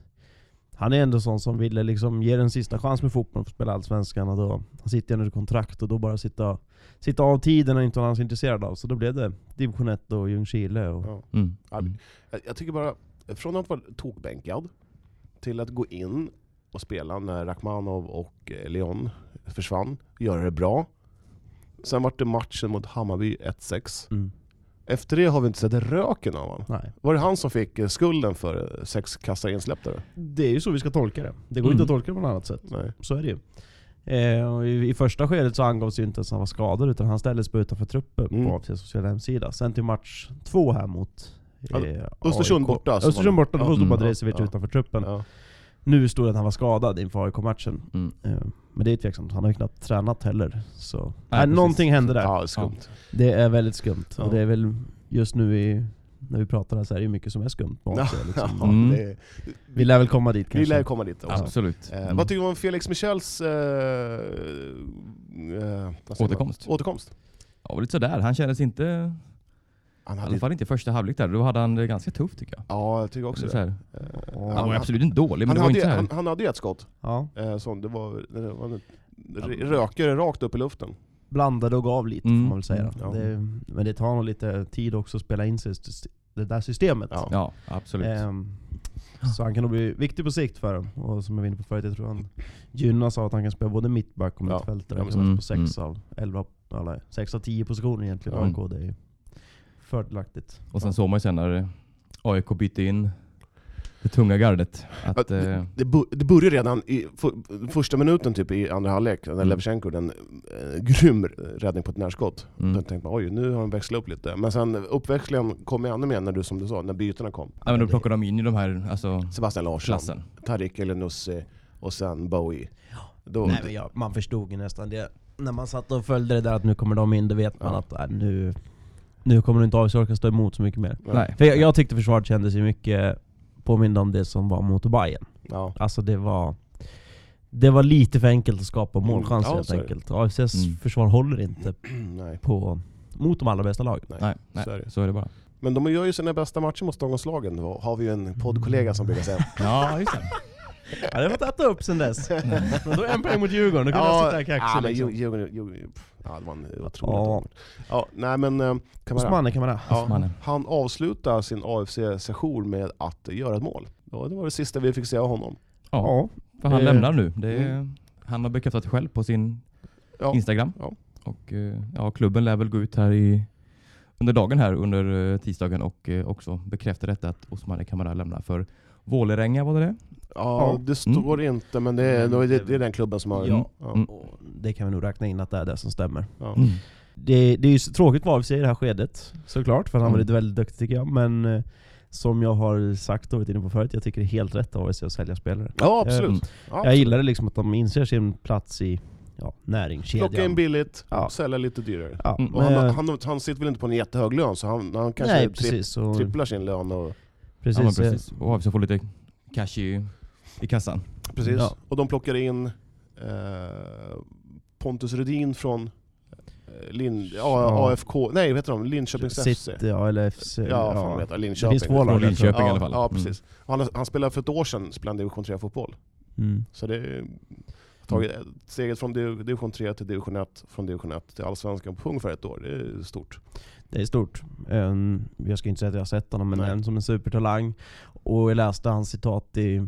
[SPEAKER 3] han är ändå sån som ville liksom ge en sista chans med fotbollen för att spela Allsvenskan. Och då, han sitter ju under kontrakt och då bara sitta, sitta av tiden och inte vad han är intresserad av. Så då blev det Division 1 och Ljungskile. Och,
[SPEAKER 4] Ja.
[SPEAKER 2] Mm.
[SPEAKER 4] Mm. Jag, jag tycker bara, från att vara tokbänkad till att gå in och spela när Rachmanov och eh, Leon försvann, göra det bra. Sen vart det matchen mot Hammarby 1-6.
[SPEAKER 3] mm,
[SPEAKER 4] Efter det har vi inte sett röken av honom.
[SPEAKER 3] nej.
[SPEAKER 4] Var det han som fick eh, skulden för eh, sex kassar insläppta? då?
[SPEAKER 3] Det är ju så vi ska tolka det. Det går
[SPEAKER 2] Mm.
[SPEAKER 3] inte att tolka det på något annat sätt.
[SPEAKER 4] Nej.
[SPEAKER 3] Så är det ju. Eh, och i, I första skedet så angavs ju inte ens att han var skadad utan han ställdes bara utanför truppen
[SPEAKER 4] Mm.
[SPEAKER 3] på AFCs sociala hemsida. Sen till match två här mot
[SPEAKER 4] Ja,
[SPEAKER 3] eh,
[SPEAKER 4] Östersund
[SPEAKER 3] AIK.
[SPEAKER 4] borta, så
[SPEAKER 3] Östersund
[SPEAKER 4] var det.
[SPEAKER 3] borta,
[SPEAKER 4] Ja.
[SPEAKER 3] då stod
[SPEAKER 2] Mm.
[SPEAKER 3] Badresevic
[SPEAKER 4] Ja.
[SPEAKER 3] utanför truppen.
[SPEAKER 4] Ja.
[SPEAKER 3] Nu stod det att han var skadad inför AIK-matchen.
[SPEAKER 2] Mm.
[SPEAKER 3] Eh, Men det är tveksamt, han har ju knappt tränat heller. Så. Nej,
[SPEAKER 2] precis.
[SPEAKER 3] någonting hände där.
[SPEAKER 4] Ja, det är skumt.
[SPEAKER 3] Det är väldigt skumt.
[SPEAKER 4] Ja.
[SPEAKER 3] Och det är väl just nu i, när vi pratar här så är det ju mycket som är skumt på AFC. Liksom.
[SPEAKER 4] Ja,
[SPEAKER 2] Mm.
[SPEAKER 4] det,
[SPEAKER 3] Vi lär väl komma dit kanske.
[SPEAKER 4] vi lär komma dit också.
[SPEAKER 2] Absolut.
[SPEAKER 4] Eh,
[SPEAKER 2] Mm.
[SPEAKER 4] Vad tycker du om Felix Michels eh, eh, vad säger
[SPEAKER 2] Återkomst.
[SPEAKER 4] Man? Återkomst.
[SPEAKER 2] Ja, lite sådär. Han kändes inte,
[SPEAKER 4] Han
[SPEAKER 2] i
[SPEAKER 4] hade,
[SPEAKER 2] alla fall inte i första halvlek där. Då hade han det ganska tufft tycker jag.
[SPEAKER 4] ja, jag tycker också
[SPEAKER 2] Så
[SPEAKER 4] det.
[SPEAKER 2] här.
[SPEAKER 4] Eh,
[SPEAKER 2] Han var
[SPEAKER 4] han-
[SPEAKER 2] absolut inte dålig, men
[SPEAKER 4] han,
[SPEAKER 2] det var
[SPEAKER 4] hade,
[SPEAKER 2] inte
[SPEAKER 4] ju-
[SPEAKER 2] så här.
[SPEAKER 4] han, han hade ju ett skott,
[SPEAKER 3] Ja,
[SPEAKER 4] eh, som det var, det var en r- rökare rakt upp i luften.
[SPEAKER 3] blandade och gav lite
[SPEAKER 2] Mm.
[SPEAKER 3] får man väl säga.
[SPEAKER 4] Ja.
[SPEAKER 3] Det, men det tar nog lite tid också att spela in sig i syst- det där systemet.
[SPEAKER 4] Ja.
[SPEAKER 2] Ja, absolut.
[SPEAKER 4] Eh,
[SPEAKER 3] Ehm, så han kan nog bli viktig på sikt för dem. Och som jag var inne på förut, jag tror han gynnas av att han kan spela både mittback och
[SPEAKER 4] Ja.
[SPEAKER 3] mittfältare.
[SPEAKER 4] Ja,
[SPEAKER 3] Han
[SPEAKER 4] men
[SPEAKER 2] så.
[SPEAKER 3] kan på sex
[SPEAKER 2] mm.
[SPEAKER 3] av 11, alla, sex av 10 positioner egentligen.
[SPEAKER 4] Ja.
[SPEAKER 3] Mm. Det är ju fördelaktigt.
[SPEAKER 2] Och sen såg man ju sen när eh, AIK bytte in det tunga gardet. Att,
[SPEAKER 4] Ja,
[SPEAKER 2] eh,
[SPEAKER 4] Det, bo- det började redan i för, första minuten typ i andra halvlek, när
[SPEAKER 2] Mm.
[SPEAKER 4] Levchenko den eh, grym räddning på ett närskott. Då
[SPEAKER 2] mm.
[SPEAKER 4] tänkte man oj, nu har de växlat upp lite. Men sen uppväxlingen kom ju ännu mer när du, som du sa, när bytena kom.
[SPEAKER 2] ja, men då plockade de in i de här alltså,
[SPEAKER 4] Sebastian Larsson,
[SPEAKER 2] klassen.
[SPEAKER 4] Tarik Elenoussi och sen Bowie.
[SPEAKER 2] Mm.
[SPEAKER 4] Då,
[SPEAKER 3] Nej, men ja, man förstod ju nästan det. När man satt och följde det där att nu kommer de in, då vet man
[SPEAKER 4] Ja.
[SPEAKER 3] att äh, nu, nu kommer du inte AIK orka stå emot så mycket mer.
[SPEAKER 4] Ja.
[SPEAKER 2] Nej.
[SPEAKER 3] För jag, jag tyckte försvaret kändes ju mycket påminna om det som var mot Bayern.
[SPEAKER 4] Ja.
[SPEAKER 3] Alltså det var... Det var lite för enkelt att skapa målchanser
[SPEAKER 4] Mm, Ja,
[SPEAKER 3] helt
[SPEAKER 4] så är det.
[SPEAKER 3] enkelt. AFCs
[SPEAKER 2] Mm.
[SPEAKER 3] försvar håller inte
[SPEAKER 4] Nej.
[SPEAKER 3] på, mot de allra bästa lagen.
[SPEAKER 2] Nej, nej,
[SPEAKER 4] Så är det.
[SPEAKER 2] så är det bara.
[SPEAKER 4] Men de gör ju sina bästa matcher mot Stångåslagen, då har vi ju en poddkollega som brukar säga.
[SPEAKER 2] Ja, just det.
[SPEAKER 3] Ja, det har fått äta upp sen dess. Men då är en poäng mot Djurgården, då kan jag sitta här kaxig
[SPEAKER 4] ja, men
[SPEAKER 3] liksom.
[SPEAKER 4] Djurgården, Djurgården, pff, ja, det var en otroligt
[SPEAKER 3] Ja.
[SPEAKER 4] ja. ja, nej men eh, Kamara,
[SPEAKER 3] Osmane kan man ha.
[SPEAKER 4] ja,
[SPEAKER 2] Osmane.
[SPEAKER 4] han avslutar sin AFC-session med att göra ett mål. Ja, det var det sista vi fick se av honom.
[SPEAKER 2] Ja, för han
[SPEAKER 3] Eh,
[SPEAKER 2] lämnar nu. Det är, han har bekräftat det själv på sin
[SPEAKER 4] Ja.
[SPEAKER 2] Instagram.
[SPEAKER 4] Ja.
[SPEAKER 2] Och eh, ja, klubben lär väl gå ut här i, under dagen här under eh, tisdagen och eh, också bekräfta detta att Osmane Kamara lämnar för Vålerenga var det det?
[SPEAKER 4] Ja,
[SPEAKER 3] Ja. Mm.
[SPEAKER 4] det står inte, men det är,
[SPEAKER 3] Men
[SPEAKER 4] det,
[SPEAKER 3] det-
[SPEAKER 4] det är den klubben som har...
[SPEAKER 3] Ja.
[SPEAKER 4] Ja.
[SPEAKER 2] Mm.
[SPEAKER 3] Och Det kan vi nog räkna in att det är det som stämmer.
[SPEAKER 4] Ja.
[SPEAKER 3] Det, det är ju så tråkigt vad AFC i det här skedet såklart, för han har
[SPEAKER 2] Mm.
[SPEAKER 3] varit väldigt duktig tycker jag. Men eh, som jag har sagt och varit inne på förut, jag tycker det är helt rätt av AFC att sälja spelare.
[SPEAKER 4] Ja, absolut.
[SPEAKER 2] Mm.
[SPEAKER 4] Ja,
[SPEAKER 3] Jag gillar det liksom att de inser sin plats i ja, näringskedjan.
[SPEAKER 4] Plocka in billigt,
[SPEAKER 3] Ja.
[SPEAKER 4] sälja lite dyrare.
[SPEAKER 3] Ja,
[SPEAKER 2] Mm.
[SPEAKER 4] Och han,
[SPEAKER 3] men-
[SPEAKER 4] han, han sitter väl inte på en jättehög lön, så han, han kanske
[SPEAKER 3] nej,
[SPEAKER 4] tri-
[SPEAKER 3] precis. Och,
[SPEAKER 4] tripplar sin lön. Och,
[SPEAKER 3] precis,
[SPEAKER 2] Ja, men
[SPEAKER 3] eh,
[SPEAKER 2] precis. Och AFC får lite cash i, i kassan.
[SPEAKER 4] precis.
[SPEAKER 3] Ja.
[SPEAKER 4] och de plockar in eh, Pontus Rudin från eh, Lin, ja.
[SPEAKER 3] Ja.
[SPEAKER 4] AFK, nej vad heter de? Linköpings FC?
[SPEAKER 3] City, ja, eller FC.
[SPEAKER 4] Ja, fan vad
[SPEAKER 3] ja.
[SPEAKER 4] heter det?
[SPEAKER 3] Det
[SPEAKER 4] Linköping.
[SPEAKER 3] finns två lag.
[SPEAKER 2] Från
[SPEAKER 3] där, tror jag.
[SPEAKER 2] Linköping.
[SPEAKER 4] ja,
[SPEAKER 2] i alla fall.
[SPEAKER 4] Ja,
[SPEAKER 2] Mm.
[SPEAKER 4] precis. Han, han spelade för ett år sedan, spelade division 3-fotboll.
[SPEAKER 3] Mm.
[SPEAKER 4] Så det är tagit steget från div- division 3 till division 1, från division 1 till allsvenskan på ungefär ett år. Det är stort.
[SPEAKER 3] Det är stort. En, jag ska inte säga att jag har sett honom, men
[SPEAKER 4] Nej.
[SPEAKER 3] en som en supertalang. Och jag läste hans citat i,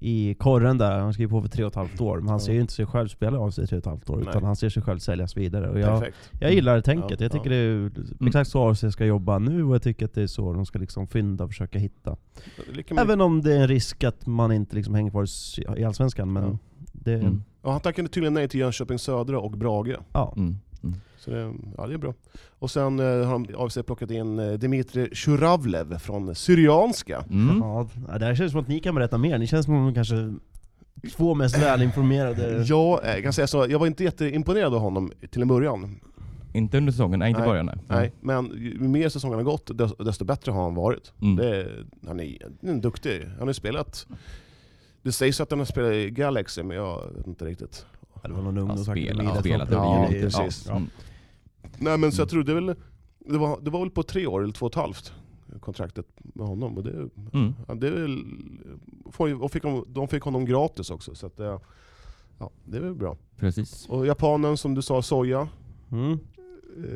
[SPEAKER 3] i korren där, han skrev på för tre och ett halvt år. Men han
[SPEAKER 4] Ja.
[SPEAKER 3] ser ju inte sig själv spela av sig i tre och ett halvt år,
[SPEAKER 4] Nej.
[SPEAKER 3] utan han ser sig själv säljas vidare. Och jag,
[SPEAKER 4] Perfekt.
[SPEAKER 3] jag gillar det tänket.
[SPEAKER 4] Ja,
[SPEAKER 3] jag tycker
[SPEAKER 4] ja.
[SPEAKER 3] det är
[SPEAKER 2] Mm.
[SPEAKER 3] exakt så AFC ska jobba nu, och jag tycker att det är så de ska liksom fynda och försöka hitta.
[SPEAKER 4] Lika mycket-
[SPEAKER 3] Även om det är en risk att man inte liksom hänger kvar i s- i Allsvenskan, men
[SPEAKER 4] Ja.
[SPEAKER 3] det...
[SPEAKER 2] Mm.
[SPEAKER 4] Ja, han tackade tydligen nej till Jönköping Södra och Brage.
[SPEAKER 3] Ja.
[SPEAKER 2] Mm. Mm.
[SPEAKER 4] Så det, ja, det är bra. Och sen eh, har de AFC plockat in eh, Dimitri Shuravlev från Syrianska.
[SPEAKER 2] Mm.
[SPEAKER 3] Ja, det här känns som att ni kan berätta mer. Ni känns som de kanske två mest
[SPEAKER 2] Mm.
[SPEAKER 3] välinformerade.
[SPEAKER 4] Jag, eh, kan säga så, jag var inte jätteimponerad av honom till
[SPEAKER 2] Mm.
[SPEAKER 4] en början.
[SPEAKER 2] Inte under säsongen, nej inte i
[SPEAKER 4] Nej.
[SPEAKER 2] början nej.
[SPEAKER 4] Nej, men ju mer säsongen har gått, des- desto bättre har han varit.
[SPEAKER 2] Mm.
[SPEAKER 4] Det är, han, är, han är duktig. Han har ju spelat... Det sägs att han har spelat i Galaxy, men jag vet inte riktigt.
[SPEAKER 3] Ja, Det var någon
[SPEAKER 2] Han
[SPEAKER 3] ungdomsakademi
[SPEAKER 2] spelar,
[SPEAKER 3] där som
[SPEAKER 2] spelar,
[SPEAKER 3] plockade
[SPEAKER 4] ja,
[SPEAKER 3] in det.
[SPEAKER 4] precis.
[SPEAKER 3] Ja.
[SPEAKER 2] Mm.
[SPEAKER 4] Nej men så
[SPEAKER 2] Mm.
[SPEAKER 4] jag trodde väl... Det var, det var väl på tre år, eller två och ett halvt, kontraktet med honom. Och det,
[SPEAKER 2] Mm.
[SPEAKER 4] Ja, det är väl, får ju- och fick de, de fick honom gratis också, så att, det- ja, det är väl bra.
[SPEAKER 2] Precis.
[SPEAKER 4] Och japanen som du sa, Soja,
[SPEAKER 3] Mm.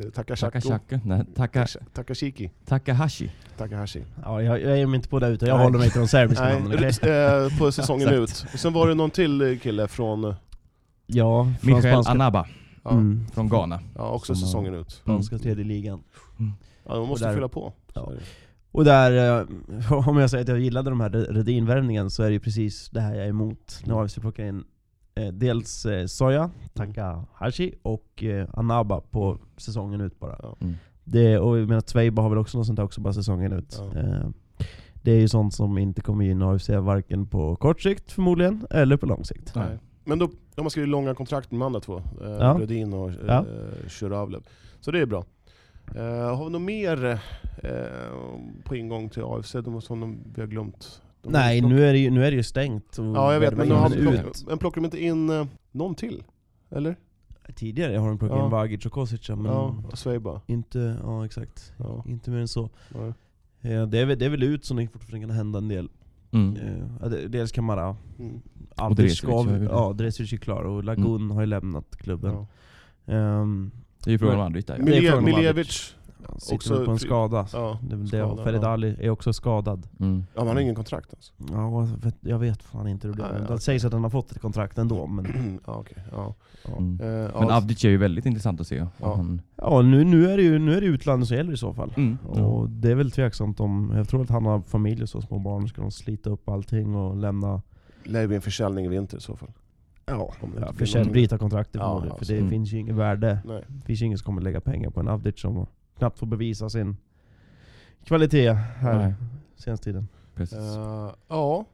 [SPEAKER 4] eh, Takashako,
[SPEAKER 2] Takashaka, nej, taka,
[SPEAKER 4] Tash- Takashiki,
[SPEAKER 2] Takahashi.
[SPEAKER 4] Takahashi.
[SPEAKER 3] Ja, jag, jag ger mig inte på det utan jag
[SPEAKER 4] Nej.
[SPEAKER 3] håller mig till de serbiska
[SPEAKER 4] Nej,
[SPEAKER 3] namnen. okej?
[SPEAKER 4] eh, på säsongen ut. Och sen var det någon till eh, kille från, eh,
[SPEAKER 3] Ja, från
[SPEAKER 2] Michael
[SPEAKER 3] spanska,
[SPEAKER 2] Anaba
[SPEAKER 4] ja,
[SPEAKER 3] mm,
[SPEAKER 2] från Ghana.
[SPEAKER 4] ja också
[SPEAKER 3] Som har-
[SPEAKER 4] säsongen ut.
[SPEAKER 3] spanska tredje ligan.
[SPEAKER 4] Ja, de måste
[SPEAKER 3] Och där-
[SPEAKER 4] fylla på. Så
[SPEAKER 3] Ja.
[SPEAKER 4] är det.
[SPEAKER 3] Och där, eh, om jag säger att jag gillade de här Redin-värvningen så är det ju precis det här jag är emot. När AFC plockar in eh, dels eh, Soja,
[SPEAKER 4] Mm.
[SPEAKER 3] Takahashi och eh, Anaba på säsongen ut bara.
[SPEAKER 4] Ja.
[SPEAKER 2] Mm.
[SPEAKER 3] Det, och jag menar Zweiba har väl också något sånt där också, bara säsongen ut.
[SPEAKER 4] Ja.
[SPEAKER 3] Eh, det är ju sånt som inte kommer gynna AFC varken på kort sikt förmodligen, eller på lång sikt.
[SPEAKER 2] Nej.
[SPEAKER 4] Men då, de har skrivit långa kontrakt med de andra två. Eh,
[SPEAKER 3] Ja.
[SPEAKER 4] Brodin och
[SPEAKER 3] Ja.
[SPEAKER 4] eh, Shuravlev. Så det är bra. Eh, har vi något mer eh, på ingång till AFC de, som de, vi har glömt? De
[SPEAKER 3] Nej,
[SPEAKER 4] har plockat-
[SPEAKER 3] nu är, det ju, nu är det ju stängt. och
[SPEAKER 4] Ja, jag vet. Men,
[SPEAKER 3] värvar
[SPEAKER 4] de har
[SPEAKER 3] ingen
[SPEAKER 4] plock, men plockar de inte in eh, någon till? Eller?
[SPEAKER 3] Tidigare har de plockat
[SPEAKER 4] Ja.
[SPEAKER 3] in Vagic och Kosica, men
[SPEAKER 4] Ja, och Svejba.
[SPEAKER 3] inte, ja, exakt.
[SPEAKER 4] Ja.
[SPEAKER 3] inte mer än så.
[SPEAKER 4] nej.
[SPEAKER 3] Eh, Det är, väl- det är väl ut som det fortfarande kan hända en del.
[SPEAKER 2] Mm.
[SPEAKER 3] Eh, ja, det- Dels Kamara,
[SPEAKER 4] Mm.
[SPEAKER 3] Aldrich
[SPEAKER 2] Dresic
[SPEAKER 3] ska,
[SPEAKER 2] är väl-
[SPEAKER 3] ja Dresic är klar och Lagun har ju lämnat klubben.
[SPEAKER 4] Ja.
[SPEAKER 3] Ehm,
[SPEAKER 2] Det är ju frågan om Andrich där. ja.
[SPEAKER 3] är
[SPEAKER 4] Milje,
[SPEAKER 3] frågan om
[SPEAKER 4] Miljevic.
[SPEAKER 3] han sitter
[SPEAKER 4] Också
[SPEAKER 3] väl på en
[SPEAKER 4] fri-
[SPEAKER 3] skada.
[SPEAKER 4] Ja.
[SPEAKER 3] Det är väl det.
[SPEAKER 4] skada,
[SPEAKER 3] Och Ferid
[SPEAKER 4] ja.
[SPEAKER 3] Ali är också skadad.
[SPEAKER 2] Mm.
[SPEAKER 4] ja, man har ingen kontrakt alltså. ens.
[SPEAKER 3] Ja, jag vet, jag vet fan inte hur det
[SPEAKER 4] Nej,
[SPEAKER 3] blir.
[SPEAKER 4] okej.
[SPEAKER 3] Det sägs att han har fått ett kontrakt ändå. Men,
[SPEAKER 4] ja, okej. Ja.
[SPEAKER 2] Mm.
[SPEAKER 4] Eh, ja,
[SPEAKER 2] Men Avdic är ju väldigt intressant att se. om
[SPEAKER 4] Ja.
[SPEAKER 2] Han,
[SPEAKER 3] ja, nu, nu är det ju nu är det utlandet som gäller i så fall.
[SPEAKER 2] mm.
[SPEAKER 3] Och det är väl tveksamt om, jag tror att han har familj och så små barn, ska de slita upp allting och lämna,
[SPEAKER 4] Lär ju bli en försäljning i vinter i så fall.
[SPEAKER 3] ja,
[SPEAKER 4] Om det inte
[SPEAKER 3] ja
[SPEAKER 4] blir
[SPEAKER 3] försälj,
[SPEAKER 4] någon-
[SPEAKER 3] bryta kontraktet
[SPEAKER 4] Ja,
[SPEAKER 3] förmodligen.
[SPEAKER 4] ja,
[SPEAKER 3] För
[SPEAKER 4] så-
[SPEAKER 3] det
[SPEAKER 2] mm.
[SPEAKER 3] finns ju inget värde.
[SPEAKER 4] Nej.
[SPEAKER 3] Det finns ju ingen som kommer lägga pengar på en Avdic som knappt får bevisa sin kvalitet här
[SPEAKER 2] Nej,
[SPEAKER 3] senaste tiden.
[SPEAKER 2] precis.
[SPEAKER 4] Eh, ja.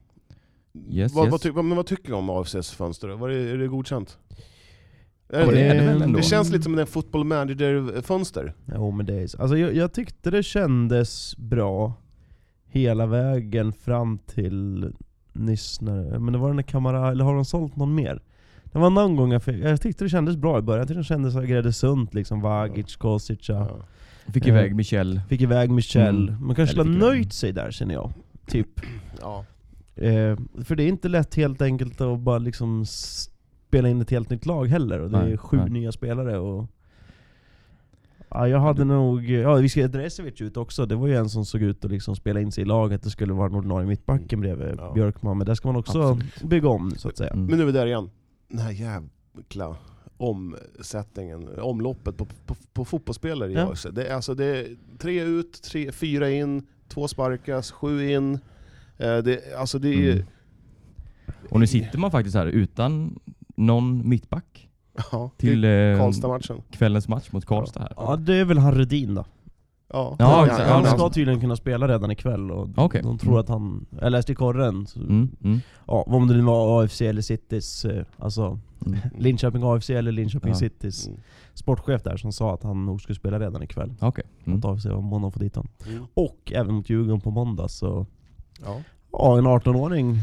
[SPEAKER 2] Yes,
[SPEAKER 4] vad,
[SPEAKER 2] yes.
[SPEAKER 4] Vad, ty, vad, men vad tycker du om AFCs fönster? då? Var det, är det godkänt? Är
[SPEAKER 2] Ja,
[SPEAKER 4] det,
[SPEAKER 2] det är
[SPEAKER 4] det,
[SPEAKER 2] det väl ändå.
[SPEAKER 4] känns lite som en football manager-fönster.
[SPEAKER 3] Jo men det är så. Alltså jag, jag tyckte det kändes bra hela vägen fram till nyss när, men det var den där kamera, eller har de sålt någon mer? Det var någon gång jag fick, jag tyckte det kändes bra i början. Jag tyckte det kändes som Gräddesunt liksom, Vagic, Kosica.
[SPEAKER 4] Ja.
[SPEAKER 2] Fick
[SPEAKER 3] eh,
[SPEAKER 2] iväg Michel.
[SPEAKER 3] Fick iväg Michel.
[SPEAKER 2] Mm.
[SPEAKER 3] Man kanske
[SPEAKER 2] Eller
[SPEAKER 3] skulle
[SPEAKER 2] fick
[SPEAKER 3] ha
[SPEAKER 2] iväg-
[SPEAKER 3] nöjt sig där känner jag. Typ.
[SPEAKER 4] Ja.
[SPEAKER 3] Eh, för det är inte lätt helt enkelt att bara liksom spela in ett helt nytt lag heller. Och det
[SPEAKER 2] Nej,
[SPEAKER 3] är sju
[SPEAKER 2] nej.
[SPEAKER 3] nya spelare och... Ja, jag hade nog... Ja, vi skrev Dresevic ut också. Det var ju en som såg ut att liksom spela in sig i laget. Det skulle vara den ordinarie mittbacken bredvid
[SPEAKER 4] Ja.
[SPEAKER 3] Björkman. Men där ska man också
[SPEAKER 2] Mm. Absolut.
[SPEAKER 3] bygga om så att säga.
[SPEAKER 2] Mm.
[SPEAKER 4] Men nu är vi där igen. Den här jävla omsättningen, omloppet på, på, på fotbollsspelare i
[SPEAKER 3] Ja.
[SPEAKER 4] AFC. Det, är alltså, det är tre ut, tre, fyra in, två sparkas, sju in. Eh, det, alltså det är...
[SPEAKER 2] Mm. Och nu sitter man faktiskt här utan någon mittback
[SPEAKER 4] Ja,
[SPEAKER 2] till eh,
[SPEAKER 4] Karlstad-matchen.
[SPEAKER 2] kvällens match mot Karlstad här.
[SPEAKER 3] Ja, det är väl han Rudin då.
[SPEAKER 4] Ja,
[SPEAKER 2] Ja, exakt.
[SPEAKER 3] han
[SPEAKER 2] men
[SPEAKER 3] ska
[SPEAKER 2] han-
[SPEAKER 3] tydligen kunna spela redan ikväll och
[SPEAKER 2] Okej.
[SPEAKER 3] de tror
[SPEAKER 2] Mm.
[SPEAKER 3] att han... Jag läste i korren, så
[SPEAKER 2] Mm, mm,
[SPEAKER 3] ja, om det nu var AFC eller Citys, eh, alltså
[SPEAKER 2] mm.
[SPEAKER 3] Linköping AFC eller Linköping
[SPEAKER 2] Ja.
[SPEAKER 3] Citys
[SPEAKER 4] Mm.
[SPEAKER 3] sportchef där som sa att han nog skulle spela redan ikväll.
[SPEAKER 2] Okej. Mm.
[SPEAKER 3] Att AFC var måndag få dit honom.
[SPEAKER 4] Mm.
[SPEAKER 3] Och även mot Djurgården på måndag så,
[SPEAKER 4] Ja.
[SPEAKER 3] ja en 18-åring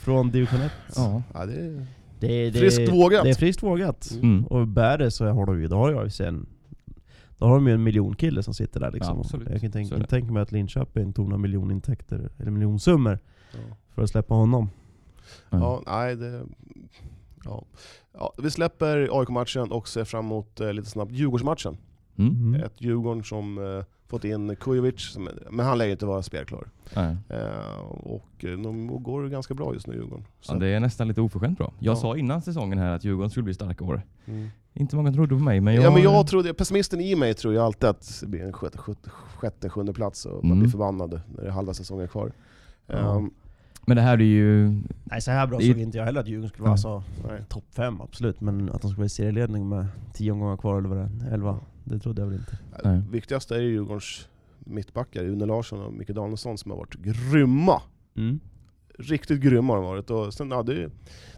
[SPEAKER 3] från division 1.
[SPEAKER 2] Ja.
[SPEAKER 4] Ja, det är...
[SPEAKER 3] Det, det,
[SPEAKER 4] Friskt vågat.
[SPEAKER 3] Det är friskt vågat.
[SPEAKER 2] Mm.
[SPEAKER 3] Och bär det så har de ju, då har ju AFC en då har de ju en miljon kille som sitter där liksom.
[SPEAKER 2] Ja, absolut.
[SPEAKER 3] Jag kan
[SPEAKER 2] Så
[SPEAKER 3] tänka,
[SPEAKER 2] är det.
[SPEAKER 3] tänka mig att Linköping tog några miljonintäkter, eller miljonsummor,
[SPEAKER 4] Ja.
[SPEAKER 3] för att släppa honom.
[SPEAKER 4] Ja, nej det... Ja. Ja, vi släpper AIK-matchen och ser fram emot eh, lite snabbt Djurgårdsmatchen.
[SPEAKER 2] Mm.
[SPEAKER 3] Mm.
[SPEAKER 4] Ett Djurgården som eh, fått in Kujovic, som, men han lär ju inte vara spelklar.
[SPEAKER 2] Nej.
[SPEAKER 4] Eh, och eh, de går ganska bra just nu Djurgården. Så,
[SPEAKER 2] Ja, det är nästan lite oförskämt bra. Jag
[SPEAKER 4] Ja.
[SPEAKER 2] sa innan säsongen här att Djurgården skulle bli starka år.
[SPEAKER 4] mm.
[SPEAKER 2] Inte många trodde på mig, men jag...
[SPEAKER 4] ja, men jag trodde, pessimisten i mig tror ju alltid att det blir en sjätte, sjätte, sjätte sjunde plats och man
[SPEAKER 2] Mm.
[SPEAKER 4] blir förbannad när det är halva säsongen kvar.
[SPEAKER 3] Ja.
[SPEAKER 4] Ehm,
[SPEAKER 2] Men det här är ju... mm.
[SPEAKER 3] Nej så här bra
[SPEAKER 2] Det är-
[SPEAKER 3] såg inte jag heller att Djurgården skulle vara
[SPEAKER 2] Nej.
[SPEAKER 3] så
[SPEAKER 4] nej.
[SPEAKER 3] topp 5 absolut, men att de skulle vara i serieledning med 10 omgångar kvar eller vad det är, 11, det trodde jag väl inte.
[SPEAKER 2] Nej.
[SPEAKER 4] Viktigast är ju Djurgårdens mittbackar, Une Larsson och Micke Danielsson som har varit grymma Mm. Riktigt grymma har de varit. Och sen, ja, det, är-